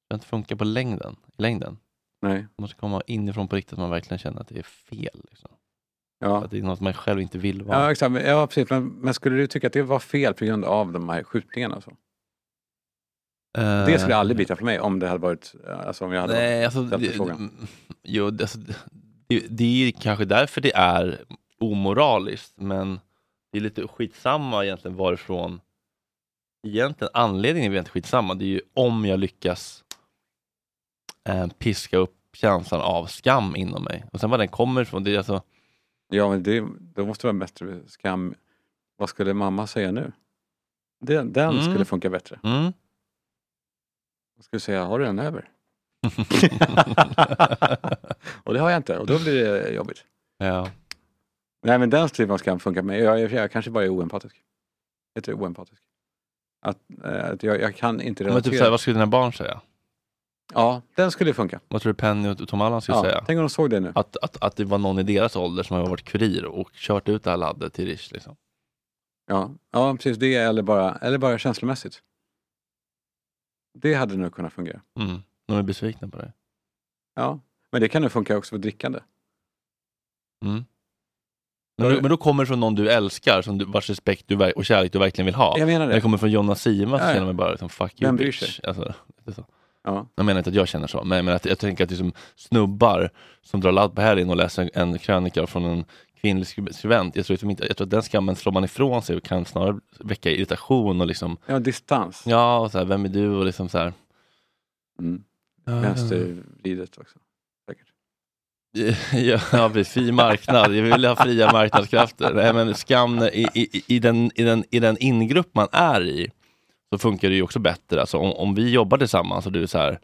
[SPEAKER 2] Det inte funkar på längden. I längden.
[SPEAKER 3] Nej.
[SPEAKER 2] Det måste komma inifrån på riktigt att man verkligen känner att det är fel. Liksom.
[SPEAKER 3] Ja,
[SPEAKER 2] Att det är något man själv inte vill vara.
[SPEAKER 3] ja, exakt. Men- ja precis. Men, men skulle du tycka att det var fel på grund av de här skjutningarna? och Så?
[SPEAKER 2] Eh,
[SPEAKER 3] Det skulle aldrig bita för mig om det hade varit, alltså om jag hade varit
[SPEAKER 2] Nej, alltså,
[SPEAKER 3] ställt
[SPEAKER 2] det,
[SPEAKER 3] den frågan.
[SPEAKER 2] mm, [laughs] jo, det- alltså, det, det är kanske därför det är omoraliskt, men det är lite skitsamma egentligen varifrån. Egentligen anledningen är väl inte skitsamma, det är ju om jag lyckas eh, piska upp känslan av skam inom mig. Och sen var den kommer ifrån, det är alltså,
[SPEAKER 3] Ja, men det, då måste det vara bättre skam. Vad skulle mamma säga nu? Den, den
[SPEAKER 2] Mm.
[SPEAKER 3] skulle funka bättre.
[SPEAKER 2] mm. [laughs]
[SPEAKER 3] Hon skulle säga, har du den över? Och det har jag inte och då blir det jobbigt.
[SPEAKER 2] ja.
[SPEAKER 3] Nej, men den typen av skam funkar med. Jag, jag, jag kanske bara är oempatisk. Heter det oempatisk? Att, eh, att jag, jag kan inte
[SPEAKER 2] Men
[SPEAKER 3] relatera.
[SPEAKER 2] typ såhär, vad Typ skulle dina barn säga?
[SPEAKER 3] Ja, den skulle funka.
[SPEAKER 2] Vad tror du Penny och Tom Allan skulle
[SPEAKER 3] Ja,
[SPEAKER 2] säga?
[SPEAKER 3] tänk om de såg det nu.
[SPEAKER 2] Att, att, att det var någon i deras ålder som har varit kurir och kört ut det här laddet till Rish. Liksom.
[SPEAKER 3] Ja, ja precis det eller bara, eller bara känslomässigt. Det hade nog kunnat fungera.
[SPEAKER 2] Mm. De är besvikna på det.
[SPEAKER 3] Ja, men det kan nog funka också på drickande.
[SPEAKER 2] Mm.
[SPEAKER 3] Har
[SPEAKER 2] Men,
[SPEAKER 3] du-
[SPEAKER 2] men då kommer det från någon du älskar, som du, vars respekt du, ver- och kärlek du verkligen vill ha.
[SPEAKER 3] Jag menar
[SPEAKER 2] När det
[SPEAKER 3] det.
[SPEAKER 2] kommer från Jonas Sima så
[SPEAKER 3] Ja, ja.
[SPEAKER 2] känner man bara liksom, fuck you
[SPEAKER 3] Vem bryr
[SPEAKER 2] bitch.
[SPEAKER 3] sig?
[SPEAKER 2] Alltså, det är så.
[SPEAKER 3] Ja.
[SPEAKER 2] Jag menar inte att jag känner så, men, men att, jag tänker att liksom, snubbar som drar ladd på helgen och läser en, en krönika från en kvinnlig skri- skribent, jag tror, liksom inte, jag tror att den skammen slår man ifrån sig och kan snarare väcka irritation och liksom,
[SPEAKER 3] Ja, distans.
[SPEAKER 2] ja, och så här, vem är du och liksom så här.
[SPEAKER 3] Mm.
[SPEAKER 2] Ja,
[SPEAKER 3] Vänstervridet också. Säkert.
[SPEAKER 2] Ja, ja, precis. fri marknad. Jag vill ha fria marknadskrafter. Nej, men skam i, i, i, den, i, den, i den ingrupp man är i så funkar det ju också bättre. Alltså, om, om vi jobbar tillsammans och du är så här,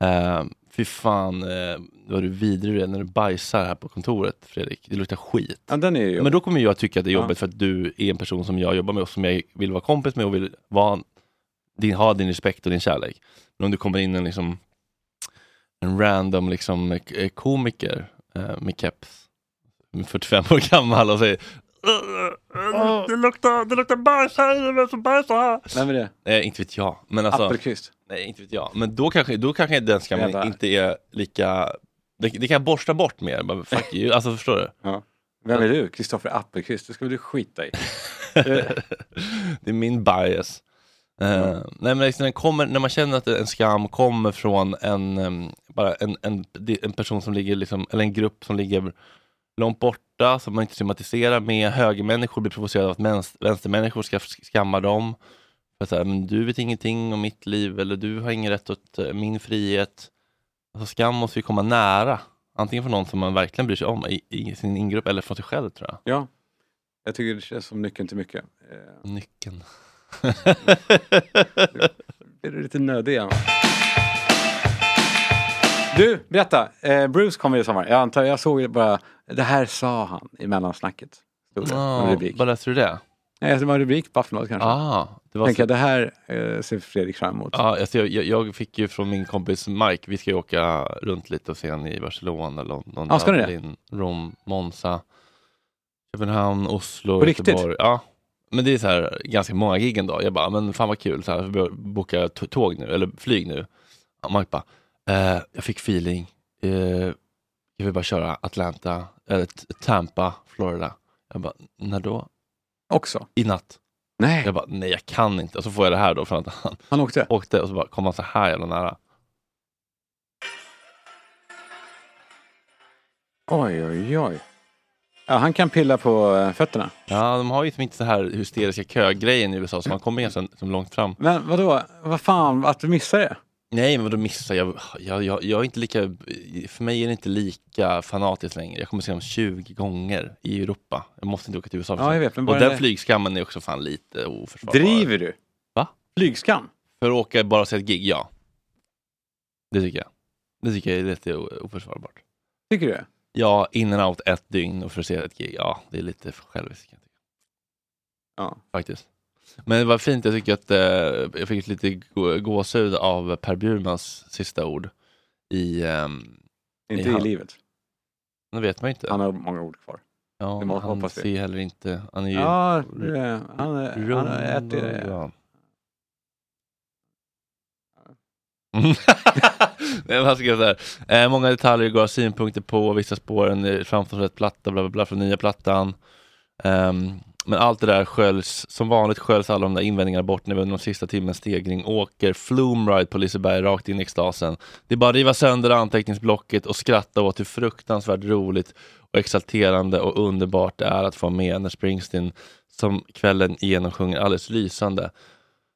[SPEAKER 2] eh, fy fan eh, vad du vidrig du är när du bajsar här på kontoret Fredrik. Det luktar skit.
[SPEAKER 3] Ja, den är ju
[SPEAKER 2] Men då kommer jag tycka att det är
[SPEAKER 3] Ja.
[SPEAKER 2] jobbigt för att du är en person som jag jobbar med och som jag vill vara kompis med och vill vara, din, ha din respekt och din kärlek. Men om du kommer in en, liksom, en random liksom, eh, komiker eh, med keps, med 45 år gammal och säger "Åh, det luktar, det luktar bajs här, vem som bajsar här?
[SPEAKER 3] Vem är det?
[SPEAKER 2] Nej, inte vet jag. Men alltså,
[SPEAKER 3] Appelqvist?
[SPEAKER 2] nej, inte vet jag. Men då kanske, då kanske den skammen
[SPEAKER 3] Jävlar.
[SPEAKER 2] inte är lika... Det, det kan jag borsta bort mer. Bara,
[SPEAKER 3] [laughs]
[SPEAKER 2] Fuck you. Alltså, förstår du?
[SPEAKER 3] Vem är du? Kristoffer Appelqvist? Det ska väl du skita i.
[SPEAKER 2] det är min bias. Eh, nej, men liksom, den kommer, när man känner att en skam kommer från en, em, bara en, en, en person som ligger, liksom, eller en grupp som ligger långt borta, som man inte sympatiserar med. Högermänniskor blir provocerade av att mäns- vänstermänniskor ska sk- skamma dem. För att så här, men du vet ingenting om mitt liv, eller du har ingen rätt åt eh, min frihet. Alltså, skam måste ju komma nära. Antingen från någon som man verkligen bryr sig om i, i sin ingrupp, eller från sig själv tror jag.
[SPEAKER 3] Ja, jag tycker det känns som nyckeln till mycket. Eh, [laughs]
[SPEAKER 2] Nyckeln.
[SPEAKER 3] Är du lite nödig igen? va? Du, berätta. Eh, Bruce kommer i sommar. Jag antar, jag såg bara, det här sa han i mellansnacket. Stod det,
[SPEAKER 2] Ja,
[SPEAKER 3] som rubrik.
[SPEAKER 2] Vad läste du det?
[SPEAKER 3] Nej, det var en rubrik på Aftonbladet kanske.
[SPEAKER 2] Ah, det var
[SPEAKER 3] Tänker
[SPEAKER 2] så,
[SPEAKER 3] jag, det här eh, ser Fredrik fram emot.
[SPEAKER 2] ah, alltså jag, jag, jag fick ju från min kompis Mike, vi ska ju åka runt lite och se henne i Barcelona, London,
[SPEAKER 3] Ah, ska ni det?
[SPEAKER 2] Rom, Monza, Köpenhamn, Oslo,
[SPEAKER 3] På riktigt?
[SPEAKER 2] Göteborg. Ja, men det är så här ganska många gig en dag. Jag bara, men fan vad kul, så här, vi bör- boka t- tåg nu, eller flyg nu. Ja, Mike bara, eh, jag fick feeling, eh, jag vill bara köra Atlanta, eller T- Tampa, Florida. Jag bara, när då?
[SPEAKER 3] Också.
[SPEAKER 2] I natt.
[SPEAKER 3] Nej,
[SPEAKER 2] Jag bara, nej jag kan inte. Och så får jag det här då från att han [laughs]
[SPEAKER 3] han åkte.
[SPEAKER 2] åkte och så bara kom han så här jävla nära.
[SPEAKER 3] Oj, oj, oj. Ja, han kan pilla på eh, fötterna.
[SPEAKER 2] Ja, de har ju liksom inte så här hysteriska kögrejen i USA, så man kommer ganska som långt fram.
[SPEAKER 3] Men vadå, vad fan, att du missar det?
[SPEAKER 2] Nej, men då missar jag. Jag, jag. jag är inte lika, för mig är det inte lika fanatiskt längre. Jag kommer se dem 20 gånger i Europa. Jag måste inte åka till USA. för
[SPEAKER 3] Ja, jag
[SPEAKER 2] sen.
[SPEAKER 3] vet, men
[SPEAKER 2] och
[SPEAKER 3] bara
[SPEAKER 2] den
[SPEAKER 3] det-
[SPEAKER 2] flygskammen är också fan lite oförsvarbar.
[SPEAKER 3] Driver du?
[SPEAKER 2] Va?
[SPEAKER 3] Flygskam?
[SPEAKER 2] För att åka bara och se ett gig, ja. Det tycker jag. Det tycker jag är lite o- oförsvarbart.
[SPEAKER 3] Tycker du?
[SPEAKER 2] Ja, in and out ett dygn och för att se ett gig. Ja, det är lite för själviskt kan jag tycka,
[SPEAKER 3] Ja.
[SPEAKER 2] faktiskt. Men det var fint. Jag tycker att eh, jag fick lite gå- gåshud av Per Bjurmans sista ord i... ehm,
[SPEAKER 3] Inte
[SPEAKER 2] Ja.
[SPEAKER 3] i livet.
[SPEAKER 2] nu vet man ju inte.
[SPEAKER 3] Han har många ord kvar.
[SPEAKER 2] ja,
[SPEAKER 3] det må-
[SPEAKER 2] han
[SPEAKER 3] hoppas vi.
[SPEAKER 2] ser heller inte... Han är ju...
[SPEAKER 3] Ja, det är- han, är- han har ätit det. [laughs]
[SPEAKER 2] Ja. Nej, men han skrev så här. Eh, många detaljer går synpunkter på, vissa spåren är framförrätt platta, bla bla bla från nya plattan. Ehm, men allt det där sköljs, som vanligt sköljs alla de där invändningarna bort när vi under de sista timmens stegring åker Flumride på Liseberg rakt in i extasen. Det är bara att riva sönder anteckningsblocket och skratta åt hur fruktansvärt roligt och exalterande och underbart det är att få med när Springsteen som kvällen igenom sjunger alldeles lysande.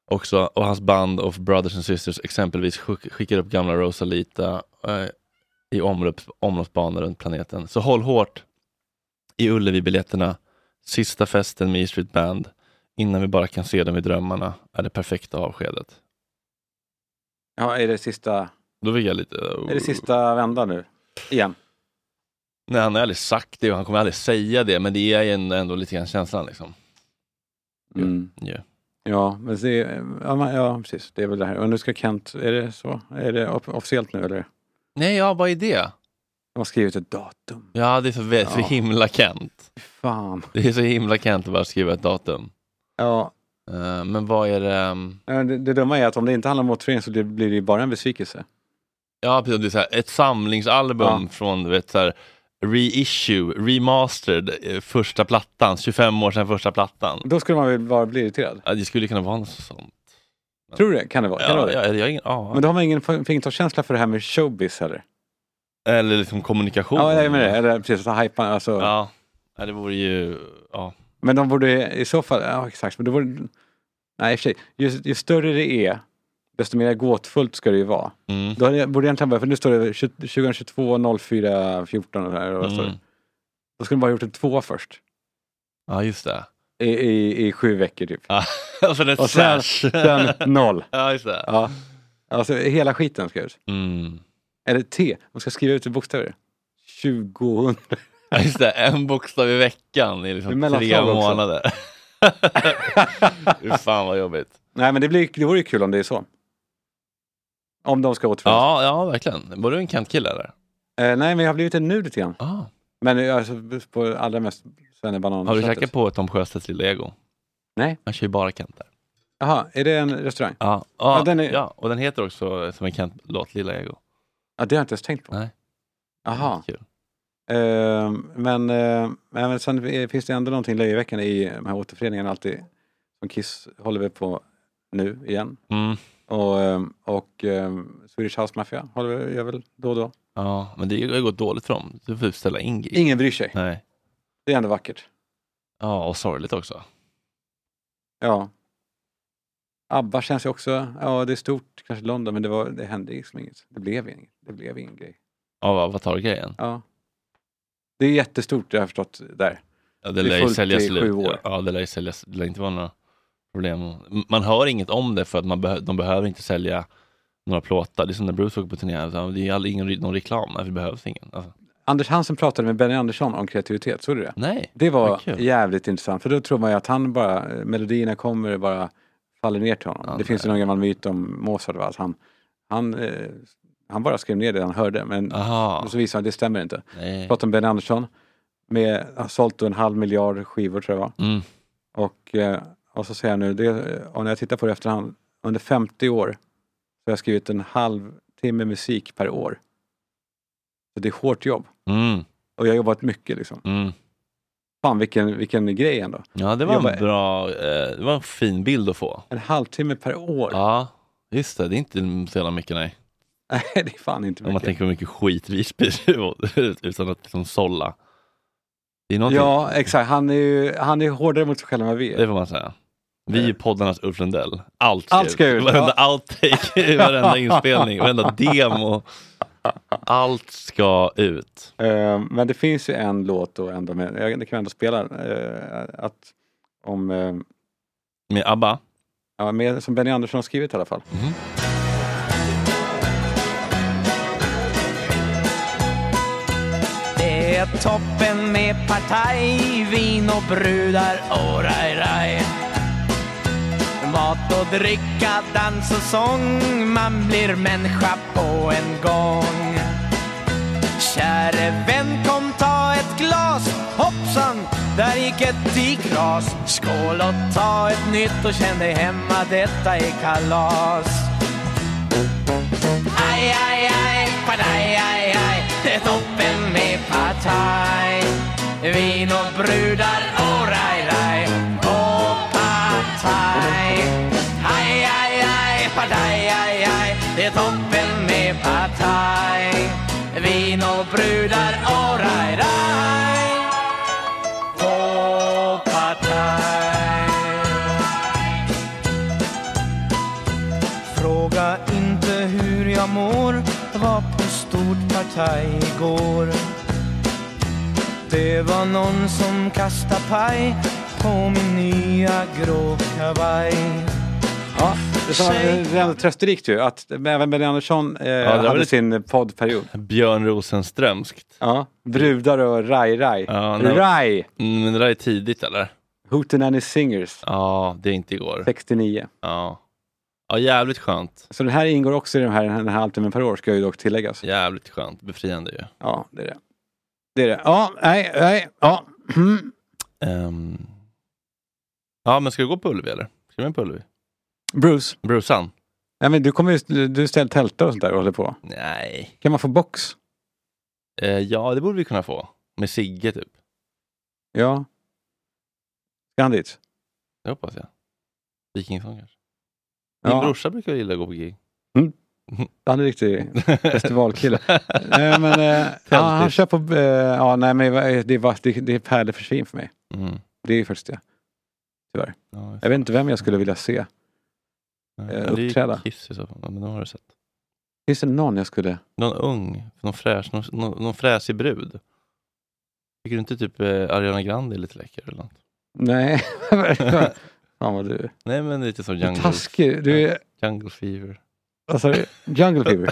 [SPEAKER 2] Också, och hans band of Brothers and Sisters exempelvis skick- skickar upp gamla Rosalita eh, i omlopp, omloppsbanor runt planeten. Så håll hårt i Ullevi-biljetterna, sista festen med E Street Band, innan vi bara kan se dem i drömmarna, är det perfekta avskedet.
[SPEAKER 3] Ja, är det sista,
[SPEAKER 2] Då fick jag lite...
[SPEAKER 3] är det sista vändan nu? Igen.
[SPEAKER 2] Nej, han har aldrig sagt det och han kommer aldrig säga det, men det är ju ändå, ändå lite grann känslan liksom.
[SPEAKER 3] Mm.
[SPEAKER 2] Ja.
[SPEAKER 3] Ja, men det, ja, men- ja, precis. Det är väl det här. Och nu ska Kent, är det så? Är det off- officiellt nu eller?
[SPEAKER 2] Nej, ja, vad är det?
[SPEAKER 3] De har skrivit ett datum.
[SPEAKER 2] Ja, det är så, vä- så
[SPEAKER 3] Ja.
[SPEAKER 2] himla Kent.
[SPEAKER 3] Fy Fan.
[SPEAKER 2] Det är så himla Kent att bara skriva ett datum.
[SPEAKER 3] Ja,
[SPEAKER 2] Eh, men vad är det? ehm,
[SPEAKER 3] ja, det, det dumma är att om det inte handlar om återförening så det blir det ju bara en besvikelse.
[SPEAKER 2] Ja, precis. Det är så här, ett samlingsalbum
[SPEAKER 3] Ja.
[SPEAKER 2] från du vet, så här, reissue, remastered, eh, första plattan, 25 år sedan första plattan.
[SPEAKER 3] Då skulle man väl bara bli irriterad?
[SPEAKER 2] Ja, det skulle kunna vara något sånt.
[SPEAKER 3] Tror du det? Kan det vara? Kan det
[SPEAKER 2] Ja,
[SPEAKER 3] vara det?
[SPEAKER 2] ja, jag har ingen aning.
[SPEAKER 3] Men då har man ingen f- fingertoppskänsla för det här med showbiz heller.
[SPEAKER 2] Eller liksom kommunikation.
[SPEAKER 3] Ja, jag menar det. Eller precis, så hypa, alltså.
[SPEAKER 2] Ja. Ja, det vore ju... Ja.
[SPEAKER 3] Men de borde i så fall, ja exakt, men då borde, nej i och för sig, ju, ju större det är, desto mer gåtfullt ska det ju vara.
[SPEAKER 2] Mm.
[SPEAKER 3] Då hade jag- borde jag egentligen bara, för nu står det 20- 2022 04 14 och där, och vad står det?
[SPEAKER 2] Mm.
[SPEAKER 3] Då skulle de bara gjort en två först.
[SPEAKER 2] ja, just det.
[SPEAKER 3] I, i, i sju veckor typ.
[SPEAKER 2] Ja. [laughs] och sen ett
[SPEAKER 3] Och sen-
[SPEAKER 2] slash.
[SPEAKER 3] Sen noll.
[SPEAKER 2] [laughs] ja, just det.
[SPEAKER 3] Ja. Alltså hela skiten ska ut.
[SPEAKER 2] Mm.
[SPEAKER 3] Eller T, de ska skriva ut i bokstäver. 20...
[SPEAKER 2] Ja, just det. En bokstav i veckan i
[SPEAKER 3] Det är
[SPEAKER 2] liksom tre
[SPEAKER 3] mellanslag också. [laughs]
[SPEAKER 2] månader. Fy fan vad jobbigt.
[SPEAKER 3] Nej men det, blir, det vore ju kul om det är så. Om de ska återförenas.
[SPEAKER 2] Ja, ja verkligen. Var du en Kent-kille eller?
[SPEAKER 3] Eh, nej men jag har blivit det nu lite grann.
[SPEAKER 2] Ah.
[SPEAKER 3] Men eh, alltså, på allra mest svennebanan
[SPEAKER 2] Har du käkat på Tom Sjöstedts lilla ego?
[SPEAKER 3] Nej.
[SPEAKER 2] Han kör ju bara Kent där.
[SPEAKER 3] Jaha, är det en restaurang?
[SPEAKER 2] Ja, ja,
[SPEAKER 3] Ja, den är-
[SPEAKER 2] ja, och den heter också som en Kent-låt, Lilla Ego.
[SPEAKER 3] Ja, det har jag inte ens tänkt på.
[SPEAKER 2] Nej.
[SPEAKER 3] Jaha.
[SPEAKER 2] Kul.
[SPEAKER 3] Eh, men, eh, nej, men sen är- finns det ändå någonting löjeväckande i de här återföreningarna alltid. Som Kiss håller vi på nu igen.
[SPEAKER 2] Mm.
[SPEAKER 3] Och, eh, och eh, Swedish House Mafia håller vi, gör väl då och då.
[SPEAKER 2] Ja, men det har ju gått dåligt för dem. Du får ju ställa in gig.
[SPEAKER 3] Ingen bryr sig.
[SPEAKER 2] Nej.
[SPEAKER 3] Det är ändå vackert.
[SPEAKER 2] Ja, och sorgligt också.
[SPEAKER 3] Ja. ABBA känns ju också, ja det är stort, kanske London, men det, var, det hände liksom inget. Det blev inget. Det blev ingen grej.
[SPEAKER 2] Ja, vad, vad tar grejen?
[SPEAKER 3] Ja. Det är jättestort, det har jag förstått där.
[SPEAKER 2] Ja, det
[SPEAKER 3] Det är
[SPEAKER 2] lär ju
[SPEAKER 3] fullt
[SPEAKER 2] säljas
[SPEAKER 3] i sju
[SPEAKER 2] slut.
[SPEAKER 3] år.
[SPEAKER 2] Ja, det lär ju säljas. Det lär inte vara några problem. Man hör inget om det för att man behö- de behöver inte sälja några plåtar. Det är som när Bruce åker på turné. så Det är ju aldrig ingen, re- någon reklam. Nej, för det behövs ingen. Alltså,
[SPEAKER 3] Anders Hansen pratade med Benny Andersson om kreativitet, såg du det?
[SPEAKER 2] nej.
[SPEAKER 3] Det var
[SPEAKER 2] Vad kul.
[SPEAKER 3] jävligt intressant, för då tror man ju att han bara, melodierna kommer och bara faller ner till honom.
[SPEAKER 2] Ja,
[SPEAKER 3] det finns ju någon gammal myt om Mozart, va? att han, han, eh, han bara skrev ner det han hörde, men
[SPEAKER 2] Aha.
[SPEAKER 3] och så visade han att det stämmer inte.
[SPEAKER 2] Nej.
[SPEAKER 3] Pratade med Benny Andersson, med, han har sålt en halv miljard skivor tror jag det var.
[SPEAKER 2] Mm.
[SPEAKER 3] Och, eh, och så säger han nu, det, och när jag tittar på det efterhand, under 50 år så har jag skrivit en halv timme musik per år. Så det är hårt jobb.
[SPEAKER 2] Mm.
[SPEAKER 3] Och jag har jobbat mycket liksom.
[SPEAKER 2] Mm.
[SPEAKER 3] Fan vilken, vilken grej ändå.
[SPEAKER 2] Ja, det var en
[SPEAKER 3] Jobba-
[SPEAKER 2] bra, eh, det var en fin bild att få.
[SPEAKER 3] En halvtimme per år.
[SPEAKER 2] Ja, just det. Det är inte så jävla mycket nej.
[SPEAKER 3] [laughs] Nej, det är fan inte
[SPEAKER 2] Om man
[SPEAKER 3] mycket.
[SPEAKER 2] tänker hur mycket skit vi [laughs] spyr ut utan att liksom sålla. Det är någonting,
[SPEAKER 3] ja, exakt. Han är ju han är hårdare mot sig själv än vad vi är.
[SPEAKER 2] det får man säga. Vi är ju poddarnas Ulf Lundell. Allt ska,
[SPEAKER 3] Eh. Allt ska ut,
[SPEAKER 2] Varenda outtake,
[SPEAKER 3] [laughs]
[SPEAKER 2] varenda inspelning, varenda demo. Allt ska ut.
[SPEAKER 3] Eh, men det finns ju en låt då ändå, med, jag, det kan vi ändå spela, eh, att, om, eh,
[SPEAKER 2] Med ABBA.
[SPEAKER 3] ja, med, som Benny Andersson har skrivit i alla fall.
[SPEAKER 2] Mhm.
[SPEAKER 9] knäcka toppen med partaj, vin och brudar och raj-raj. Mat och dricka, dans och sång, man blir människa på en gång. Käre vän, kom ta ett glas, hoppsan, där gick ett i kras. Skål och ta ett nytt och känn dig hemma, detta är kalas. Aj, aj, aj, padaj, aj, aj Det är toppen med partaj Vin och brudar och raj, raj Och partaj Aj, aj, aj, padaj, aj, aj Det är toppen med partaj Vin och brudar och raj, raj Och partaj Fråga inte hur jag mår Var på stort partaj igår Det var någon som kastade paj På min nya grå kavaj
[SPEAKER 3] Ja, det som var väldigt trösterikt ju att även Benny Andersson eh,
[SPEAKER 2] var
[SPEAKER 3] hade
[SPEAKER 2] lite-
[SPEAKER 3] sin poddperiod.
[SPEAKER 2] Björn Rosenströmskt.
[SPEAKER 3] Ja. Brudar och raj-raj.
[SPEAKER 2] Ja, nej.
[SPEAKER 3] raj!
[SPEAKER 2] Mm, men det där är tidigt eller?
[SPEAKER 3] Hootenanny Singers,
[SPEAKER 2] Ja, det är inte igår.
[SPEAKER 3] 69.
[SPEAKER 2] Ja, ja jävligt skönt.
[SPEAKER 3] Så den här ingår också i den här, den här halvtimmen per år, ska ju dock tilläggas.
[SPEAKER 2] Jävligt skönt. Befriande ju.
[SPEAKER 3] Ja, det är det. Det är det. Ja, nej, nej, ja. Mm.
[SPEAKER 2] Ehm. Ja, men ska du gå på Ullevi eller? Ska du med på Ullevi?
[SPEAKER 3] Bruce,
[SPEAKER 2] Brusan?
[SPEAKER 3] ja, men du kommer ju, du- du ställer tältar och sånt där och håller på.
[SPEAKER 2] Nej.
[SPEAKER 3] Kan man få box?
[SPEAKER 2] Eh, ja, det borde vi kunna få. Med Sigge typ.
[SPEAKER 3] Ja. Ska han dit?
[SPEAKER 2] Det hoppas jag. Vikingsång kanske. Min
[SPEAKER 3] Ja,
[SPEAKER 2] brorsa brukar gilla att gå på gig.
[SPEAKER 3] han är riktig [laughs] festivalkille. nej,
[SPEAKER 2] [laughs]
[SPEAKER 3] men, eh, ja, han kör på, eh, ja, nej, men det är, bara- det, det är pärlor för svin för mig.
[SPEAKER 2] Mm.
[SPEAKER 3] Det är ju faktiskt det.
[SPEAKER 2] Ja, just
[SPEAKER 3] Jag vet inte vem jag skulle vilja se.
[SPEAKER 2] det.
[SPEAKER 3] eh,
[SPEAKER 2] Ja, det är ju
[SPEAKER 3] uppträda.
[SPEAKER 2] Kiss i så fall. Ja, men de har du sett.
[SPEAKER 3] Finns det någon jag skulle...
[SPEAKER 2] Någon ung, någon, fräsch, någon, någon, någon fräsig brud. Tycker du inte typ eh, Ariana Grande är lite läcker eller något?
[SPEAKER 3] Nej. [laughs] Fan vad du är
[SPEAKER 2] Nej men lite som
[SPEAKER 3] Du är
[SPEAKER 2] Jungle,
[SPEAKER 3] taskig. Du är...
[SPEAKER 2] jungle Fever. [laughs]
[SPEAKER 3] Vad sa du? Jungle Fever.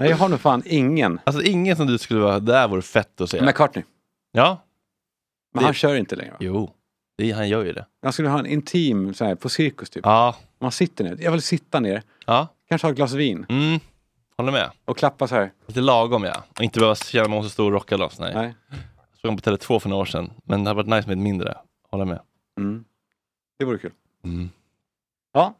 [SPEAKER 3] Nej, jag har nog fan ingen.
[SPEAKER 2] Alltså ingen som du skulle vara, där vore fett att se.
[SPEAKER 3] McCartney.
[SPEAKER 2] Ja,
[SPEAKER 3] Men han kör inte längre. va?
[SPEAKER 2] jo. Det, han gör ju det.
[SPEAKER 3] Han skulle ha en intim, så här, på cirkus typ.
[SPEAKER 2] Ja,
[SPEAKER 3] Man sitter ner. Jag vill sitta ner.
[SPEAKER 2] ja.
[SPEAKER 3] Kanske ha ett glas vin
[SPEAKER 2] Mm. Håller med.
[SPEAKER 3] och klappa så här.
[SPEAKER 2] Lite lagom ja. Och inte behöva känna mig så stor och rockad loss. Nej.
[SPEAKER 3] Nej.
[SPEAKER 2] Jag såg honom på Tele2 för några år sedan. Men det hade varit nice med ett mindre. Håller med.
[SPEAKER 3] Mm. Det vore kul.
[SPEAKER 2] Mm.
[SPEAKER 3] Ja.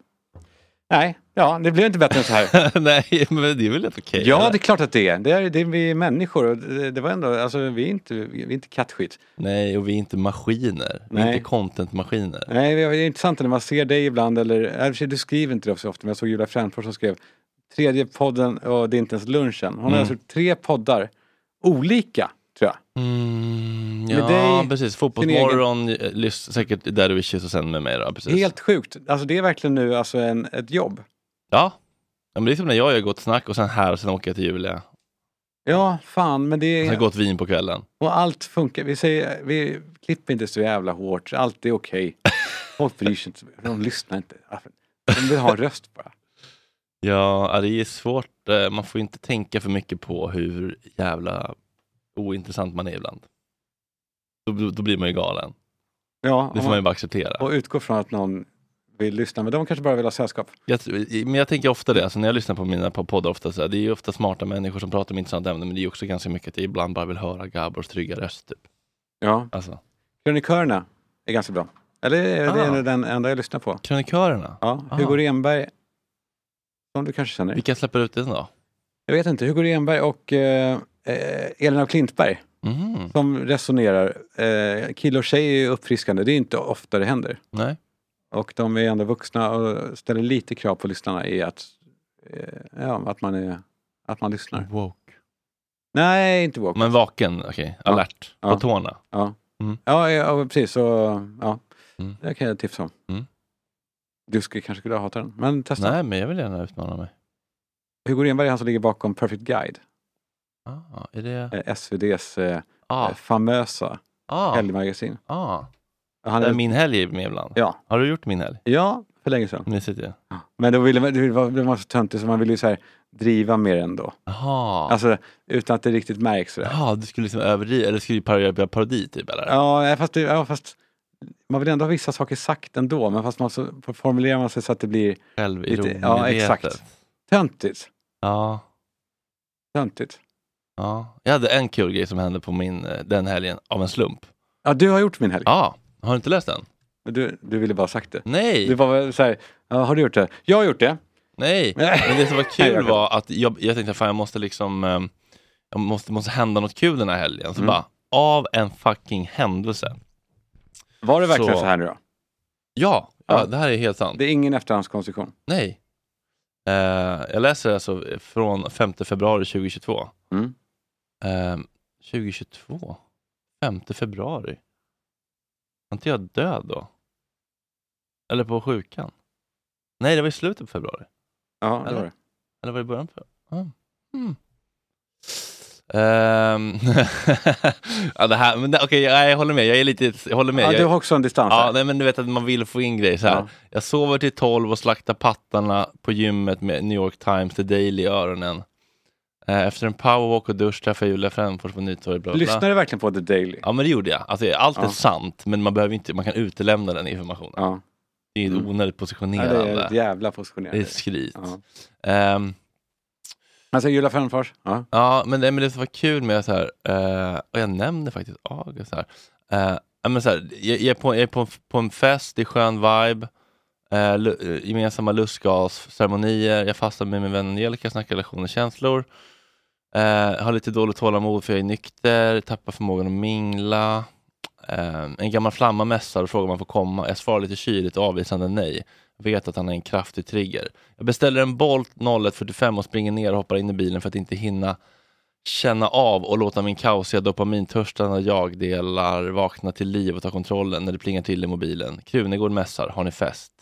[SPEAKER 3] Nej, ja, det blev inte bättre än så
[SPEAKER 2] [laughs]
[SPEAKER 3] här.
[SPEAKER 2] Nej, men det är väl helt okej?
[SPEAKER 3] Ja,
[SPEAKER 2] eller?
[SPEAKER 3] det är klart att det är. Det är, det är vi är människor. Och det, det var ändå, alltså, vi, är inte, vi är inte kattskit.
[SPEAKER 2] Nej, och vi är inte maskiner. Vi är
[SPEAKER 3] Nej.
[SPEAKER 2] inte contentmaskiner.
[SPEAKER 3] Nej, det är intressant när man ser dig ibland, eller i och för sig, du skriver inte det så ofta, men jag såg Julia Frändfors som skrev tredje podden och det är inte ens lunchen. Hon har
[SPEAKER 2] Mm.
[SPEAKER 3] alltså gjort tre poddar, olika tror jag.
[SPEAKER 2] Mm,
[SPEAKER 3] Med
[SPEAKER 2] ja,
[SPEAKER 3] dig,
[SPEAKER 2] precis.
[SPEAKER 3] egen-
[SPEAKER 2] Fotbollsmorgon, eh, lys, säkert Daddy Wishes och sen med mig då. Precis.
[SPEAKER 3] Helt sjukt. Alltså det är verkligen nu alltså en, ett jobb.
[SPEAKER 2] Ja. ja, men det är som när jag gör Gott Snack och sen här och sen åker jag till Julia.
[SPEAKER 3] Ja, fan, men det
[SPEAKER 2] Sen
[SPEAKER 3] är...
[SPEAKER 2] gott vin på kvällen.
[SPEAKER 3] Och allt funkar. Vi, säger, vi klipper inte så jävla hårt, allt är okej.
[SPEAKER 2] [laughs]
[SPEAKER 3] Folk bryr sig inte, så mycket, de lyssnar inte. De vill ha en röst bara.
[SPEAKER 2] Ja, ja, det är svårt. Eh, Man får ju inte tänka för mycket på hur jävla ointressant man är ibland. Då, då, då blir man ju galen.
[SPEAKER 3] Ja,
[SPEAKER 2] Det får man ju bara acceptera.
[SPEAKER 3] och utgå från att någon vill lyssna, men de kanske bara vill ha sällskap.
[SPEAKER 2] Jag, tr- men jag tänker ofta det, alltså när jag lyssnar på mina på poddar, ofta så här, det är ju ofta smarta människor som pratar om intressanta ämnen, men det är ju också ganska mycket att jag ibland bara vill höra Gabors trygga röst. Typ.
[SPEAKER 3] Ja.
[SPEAKER 2] Alltså,
[SPEAKER 3] Krönikörerna är ganska bra. Eller det är
[SPEAKER 2] Ah.
[SPEAKER 3] nog den enda jag lyssnar på.
[SPEAKER 2] krönikörerna,
[SPEAKER 3] Ja,
[SPEAKER 2] Ah.
[SPEAKER 3] Hugo Renberg, som du kanske känner.
[SPEAKER 2] vilka släpper ut den då?
[SPEAKER 3] Jag vet inte, Hugo Renberg och eh, eh, Elin af Klintberg
[SPEAKER 2] Mhm,
[SPEAKER 3] som resonerar. Eh, kille och tjej är ju uppfriskande, det är inte ofta det händer.
[SPEAKER 2] nej.
[SPEAKER 3] Och de är ändå vuxna och ställer lite krav på lyssnarna i att, eh, ja, att, man, är, att man lyssnar.
[SPEAKER 2] Woke.
[SPEAKER 3] Nej, inte woke.
[SPEAKER 2] Men vaken, okej, alert,
[SPEAKER 3] Ja.
[SPEAKER 2] på tårna.
[SPEAKER 3] Ja, ja, precis. Så, ja.
[SPEAKER 2] Mm.
[SPEAKER 3] Det kan jag tipsa om.
[SPEAKER 2] Mm.
[SPEAKER 3] Du skulle, kanske skulle hata den, men testa.
[SPEAKER 2] Nej, men jag vill gärna utmana mig.
[SPEAKER 3] Hugo Renberg är han som ligger bakom Perfect Guide,
[SPEAKER 2] Ah, är det...
[SPEAKER 3] eh, SVDs eh,
[SPEAKER 2] Ah,
[SPEAKER 3] famösa
[SPEAKER 2] ah,
[SPEAKER 3] helgmagasin.
[SPEAKER 2] ah.
[SPEAKER 3] Och Han
[SPEAKER 2] Där
[SPEAKER 3] är,
[SPEAKER 2] min helg är med ibland.
[SPEAKER 3] Ja.
[SPEAKER 2] Har du gjort min helg?
[SPEAKER 3] ja, för länge sedan.
[SPEAKER 2] Mysigt ju.
[SPEAKER 3] Men då ville man, det var, det var så töntigt så man ville ju så här, driva med den då.
[SPEAKER 2] Jaha.
[SPEAKER 3] Alltså utan att det riktigt märks. Sådär.
[SPEAKER 2] Jaha, du skulle liksom överdriva, eller skulle parodi, göra parodi typ eller?
[SPEAKER 3] Ja, eh, fast, det, ja, fast man vill ändå ha vissa saker sagt ändå, men fast man så, formulerar man sig så att det blir
[SPEAKER 2] Självironi.
[SPEAKER 3] lite- ja, exakt.
[SPEAKER 2] medvetet.
[SPEAKER 3] töntigt.
[SPEAKER 2] Ja,
[SPEAKER 3] töntigt.
[SPEAKER 2] ja. Jag hade en kul grej som hände på min, eh, den helgen av en slump.
[SPEAKER 3] Ja, du har gjort min helg.
[SPEAKER 2] Ja, har du inte läst den?
[SPEAKER 3] Men Du, du ville bara ha sagt det.
[SPEAKER 2] Nej,
[SPEAKER 3] Det var väl så här, ja, har du gjort det? Jag har gjort det.
[SPEAKER 2] nej. Men det som var
[SPEAKER 3] [laughs] Nej, jag
[SPEAKER 2] kul
[SPEAKER 3] vet.
[SPEAKER 2] var att jag, jag tänkte fan jag måste liksom, eh, jag måste, måste hända något kul den här helgen. Så
[SPEAKER 3] Mm.
[SPEAKER 2] bara, av en fucking händelse.
[SPEAKER 3] Var det verkligen
[SPEAKER 2] Så.
[SPEAKER 3] så, här nu då?
[SPEAKER 2] Ja, ja,
[SPEAKER 3] Ja.
[SPEAKER 2] det här är helt sant.
[SPEAKER 3] Det är ingen efterhandskonstruktion.
[SPEAKER 2] Nej. Eh, jag läser alltså från 5 februari 2022.
[SPEAKER 3] Mm.
[SPEAKER 2] Eh, 2022? 5 februari? Var inte jag död då? Eller på sjukan? Nej, det var i slutet på februari.
[SPEAKER 3] Ja, det
[SPEAKER 2] Eller?
[SPEAKER 3] var det.
[SPEAKER 2] Eller var det i början på ah. mm. Ehm, [laughs] ja, det här, men det- okej, jag, jag håller med. Jag är lite, jag håller med.
[SPEAKER 3] Ja,
[SPEAKER 2] jag,
[SPEAKER 3] du har också en distans
[SPEAKER 2] Ja,
[SPEAKER 3] här.
[SPEAKER 2] nej, men du vet att man vill få in grejer så här.
[SPEAKER 3] Ja.
[SPEAKER 2] Jag sover till 12 och slaktar pattarna på gymmet med New York Times, The Daily i öronen. Eh, Efter en powerwalk och dusch träffar jag Julia Frändfors på Nytorget. Bla, bla, bla.
[SPEAKER 3] Lyssnar du verkligen på The Daily?
[SPEAKER 2] Ja, men det gjorde jag. Alltså, allt är
[SPEAKER 3] Ja.
[SPEAKER 2] sant, men man, behöver inte, man kan utelämna den informationen.
[SPEAKER 3] Ja.
[SPEAKER 2] Det är
[SPEAKER 3] Mm.
[SPEAKER 2] onödigt
[SPEAKER 3] ja
[SPEAKER 2] positionerande.
[SPEAKER 3] det är ett jävla positionerande.
[SPEAKER 2] skrit.
[SPEAKER 3] Ja.
[SPEAKER 2] Ehm,
[SPEAKER 3] Alltså Julia Frändfors? Ja.
[SPEAKER 2] Ja, men det, men det som var kul med så här, eh, och jag nämnde faktiskt August här. Eh, ja, men så här jag, jag är, på, jag är på, en- på en fest, det är skön vibe, eh, lu, eh, gemensamma lustgasceremonier, jag fastar med min vän Angelica, snackar relationer och känslor. Eh, har lite dåligt tålamod för jag är nykter, tappar förmågan att mingla. Eh, en gammal flamma mässar och frågar om han får komma. Jag svarar lite kyligt och avvisande nej. Jag vet att han är en kraftig trigger. Jag beställer en Bolt 01.45 och springer ner och hoppar in i bilen för att inte hinna känna av och låta min kaosiga dopamintörstande jag-delar vakna till liv och ta kontrollen när det plingar till i mobilen. Krunegård mässar, har ni fest?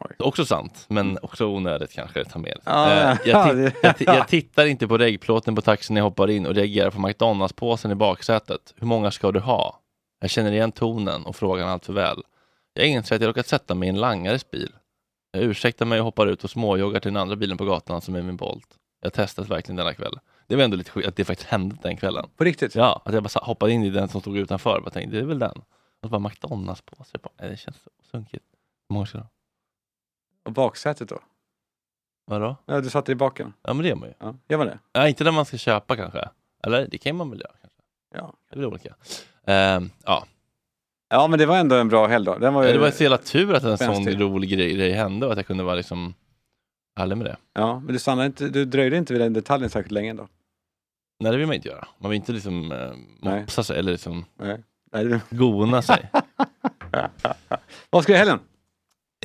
[SPEAKER 3] Oj.
[SPEAKER 2] Också sant, men också onödigt kanske att ta med.
[SPEAKER 3] Ja, [laughs]
[SPEAKER 2] Eh,
[SPEAKER 3] ja,
[SPEAKER 2] jag, tit-
[SPEAKER 3] det-
[SPEAKER 2] jag, ti- jag tittar inte på regplåten på taxin när jag hoppar in och reagerar på McDonalds-påsen i baksätet. Hur många ska du ha? Jag känner igen tonen och frågan allt för väl. Jag inser att jag råkat sätta mig i en langares bil. Jag ursäktar mig och hoppar ut och småjoggar till den andra bilen på gatan som är min Bolt. Jag testas verkligen denna kväll. Det var ändå lite sjukt att det faktiskt hände den kvällen.
[SPEAKER 3] På riktigt?
[SPEAKER 2] Ja, att jag bara sa- hoppade in i den som stod utanför och tänkte det är väl den. Och så bara McDonalds på sig. Jag bara, "Nej, Det känns så sunkigt. Hur många ska du ha?
[SPEAKER 3] Och baksätet då?
[SPEAKER 2] Vadå?
[SPEAKER 3] Ja, du satte i baken?
[SPEAKER 2] Ja men det gör man ju.
[SPEAKER 3] Ja, gör man det?
[SPEAKER 2] Ja, inte när man ska köpa kanske. Eller det kan man väl göra kanske.
[SPEAKER 3] Ja.
[SPEAKER 2] Det är väl olika. Ehm, ja.
[SPEAKER 3] Ja, men det var ändå en bra helg då. Den var ju...
[SPEAKER 2] Det var ju så jävla tur att en sån
[SPEAKER 3] Spänstig.
[SPEAKER 2] rolig grej, grej hände och att jag kunde vara liksom ärlig med det.
[SPEAKER 3] Ja, men du, stannade inte, du dröjde inte vid den detaljen särskilt länge ändå.
[SPEAKER 2] Nej det vill man inte göra. Man vill inte liksom eh,
[SPEAKER 3] Nej.
[SPEAKER 2] mopsa sig eller liksom
[SPEAKER 3] Nej, det...
[SPEAKER 2] gona
[SPEAKER 3] [laughs]
[SPEAKER 2] sig.
[SPEAKER 3] Vad ska du i helgen?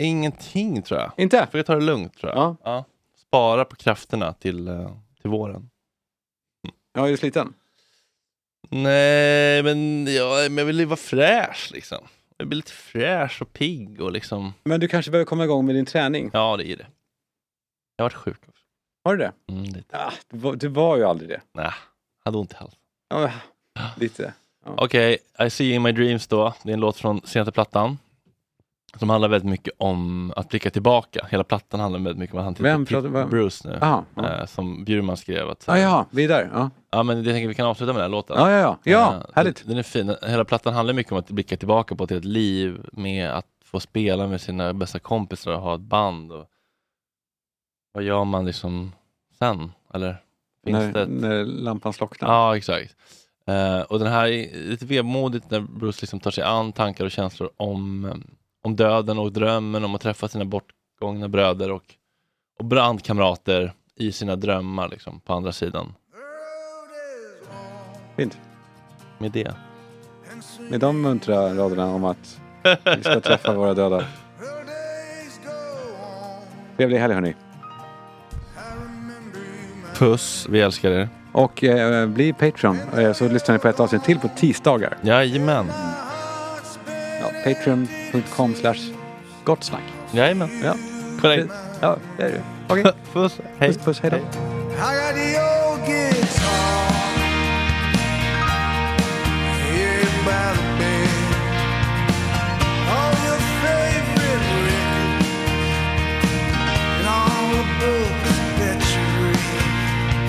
[SPEAKER 2] Ingenting tror jag.
[SPEAKER 3] Inte?
[SPEAKER 2] Får jag ta det lugnt tror jag.
[SPEAKER 3] Ja.
[SPEAKER 2] Spara på krafterna till, eh, till våren.
[SPEAKER 3] Ja, är du sliten?
[SPEAKER 2] Nej men, ja, men jag vill ju vara fräsch liksom. Jag blir lite fräsch och pigg och liksom.
[SPEAKER 3] Men du kanske behöver komma igång med din träning?
[SPEAKER 2] Ja det är det. Jag har varit sjuk också.
[SPEAKER 3] Har du det?
[SPEAKER 2] Mm, lite.
[SPEAKER 3] Ah, du, var, du var ju aldrig det.
[SPEAKER 2] Nej, hade ont i halsen.
[SPEAKER 3] Ja,
[SPEAKER 2] [gasps]
[SPEAKER 3] lite.
[SPEAKER 2] Okej, I see you in my dreams då. Det är en låt från senaste plattan. Som handlar väldigt mycket om att blicka tillbaka. Hela plattan handlar väldigt mycket om att han
[SPEAKER 3] Vem
[SPEAKER 2] tittar
[SPEAKER 3] pratar- vem?
[SPEAKER 2] Bruce nu.
[SPEAKER 3] Jaha. Ja,
[SPEAKER 2] Eh, som Bjurman skrev. Att, så
[SPEAKER 3] ah,
[SPEAKER 2] här-
[SPEAKER 3] ja, vi är där. Ja,
[SPEAKER 2] ja, men det tänker vi kan avsluta med den här låten.
[SPEAKER 3] ja, ja. Ja, ja
[SPEAKER 2] Eh,
[SPEAKER 3] härligt.
[SPEAKER 2] Den, den är fin. Hela plattan handlar mycket om att blicka tillbaka på till ett liv med att få spela med sina bästa kompisar och ha ett band. Och, vad gör man liksom sen? Eller finns det
[SPEAKER 3] När,
[SPEAKER 2] ett
[SPEAKER 3] när lampan slocknar.
[SPEAKER 2] Ja, exakt. Eh, och den här är lite vemodigt när Bruce liksom tar sig an tankar och känslor om, eh, om döden och drömmen om att träffa sina bortgångna bröder och, och brandkamrater i sina drömmar liksom, på andra sidan.
[SPEAKER 3] Fint.
[SPEAKER 2] Med det.
[SPEAKER 3] Med de muntra raderna om att
[SPEAKER 2] [laughs]
[SPEAKER 3] vi ska träffa våra döda. Trevlig helg hörni.
[SPEAKER 2] Puss, vi älskar er.
[SPEAKER 3] Och eh, bli Patreon eh, så lyssnar ni på ett avsnitt till på tisdagar.
[SPEAKER 2] Jajamän.
[SPEAKER 3] Ja, Patreon.com slash gott snack.
[SPEAKER 2] Jajamän.
[SPEAKER 3] Ja. [laughs]
[SPEAKER 2] Korrekt.
[SPEAKER 3] Ja, det är det. Okej.
[SPEAKER 2] Puss. Hej.
[SPEAKER 3] Puss, puss, hej då.
[SPEAKER 10] I got the old guitar here by the bed. All your favorite records and all the books that you read.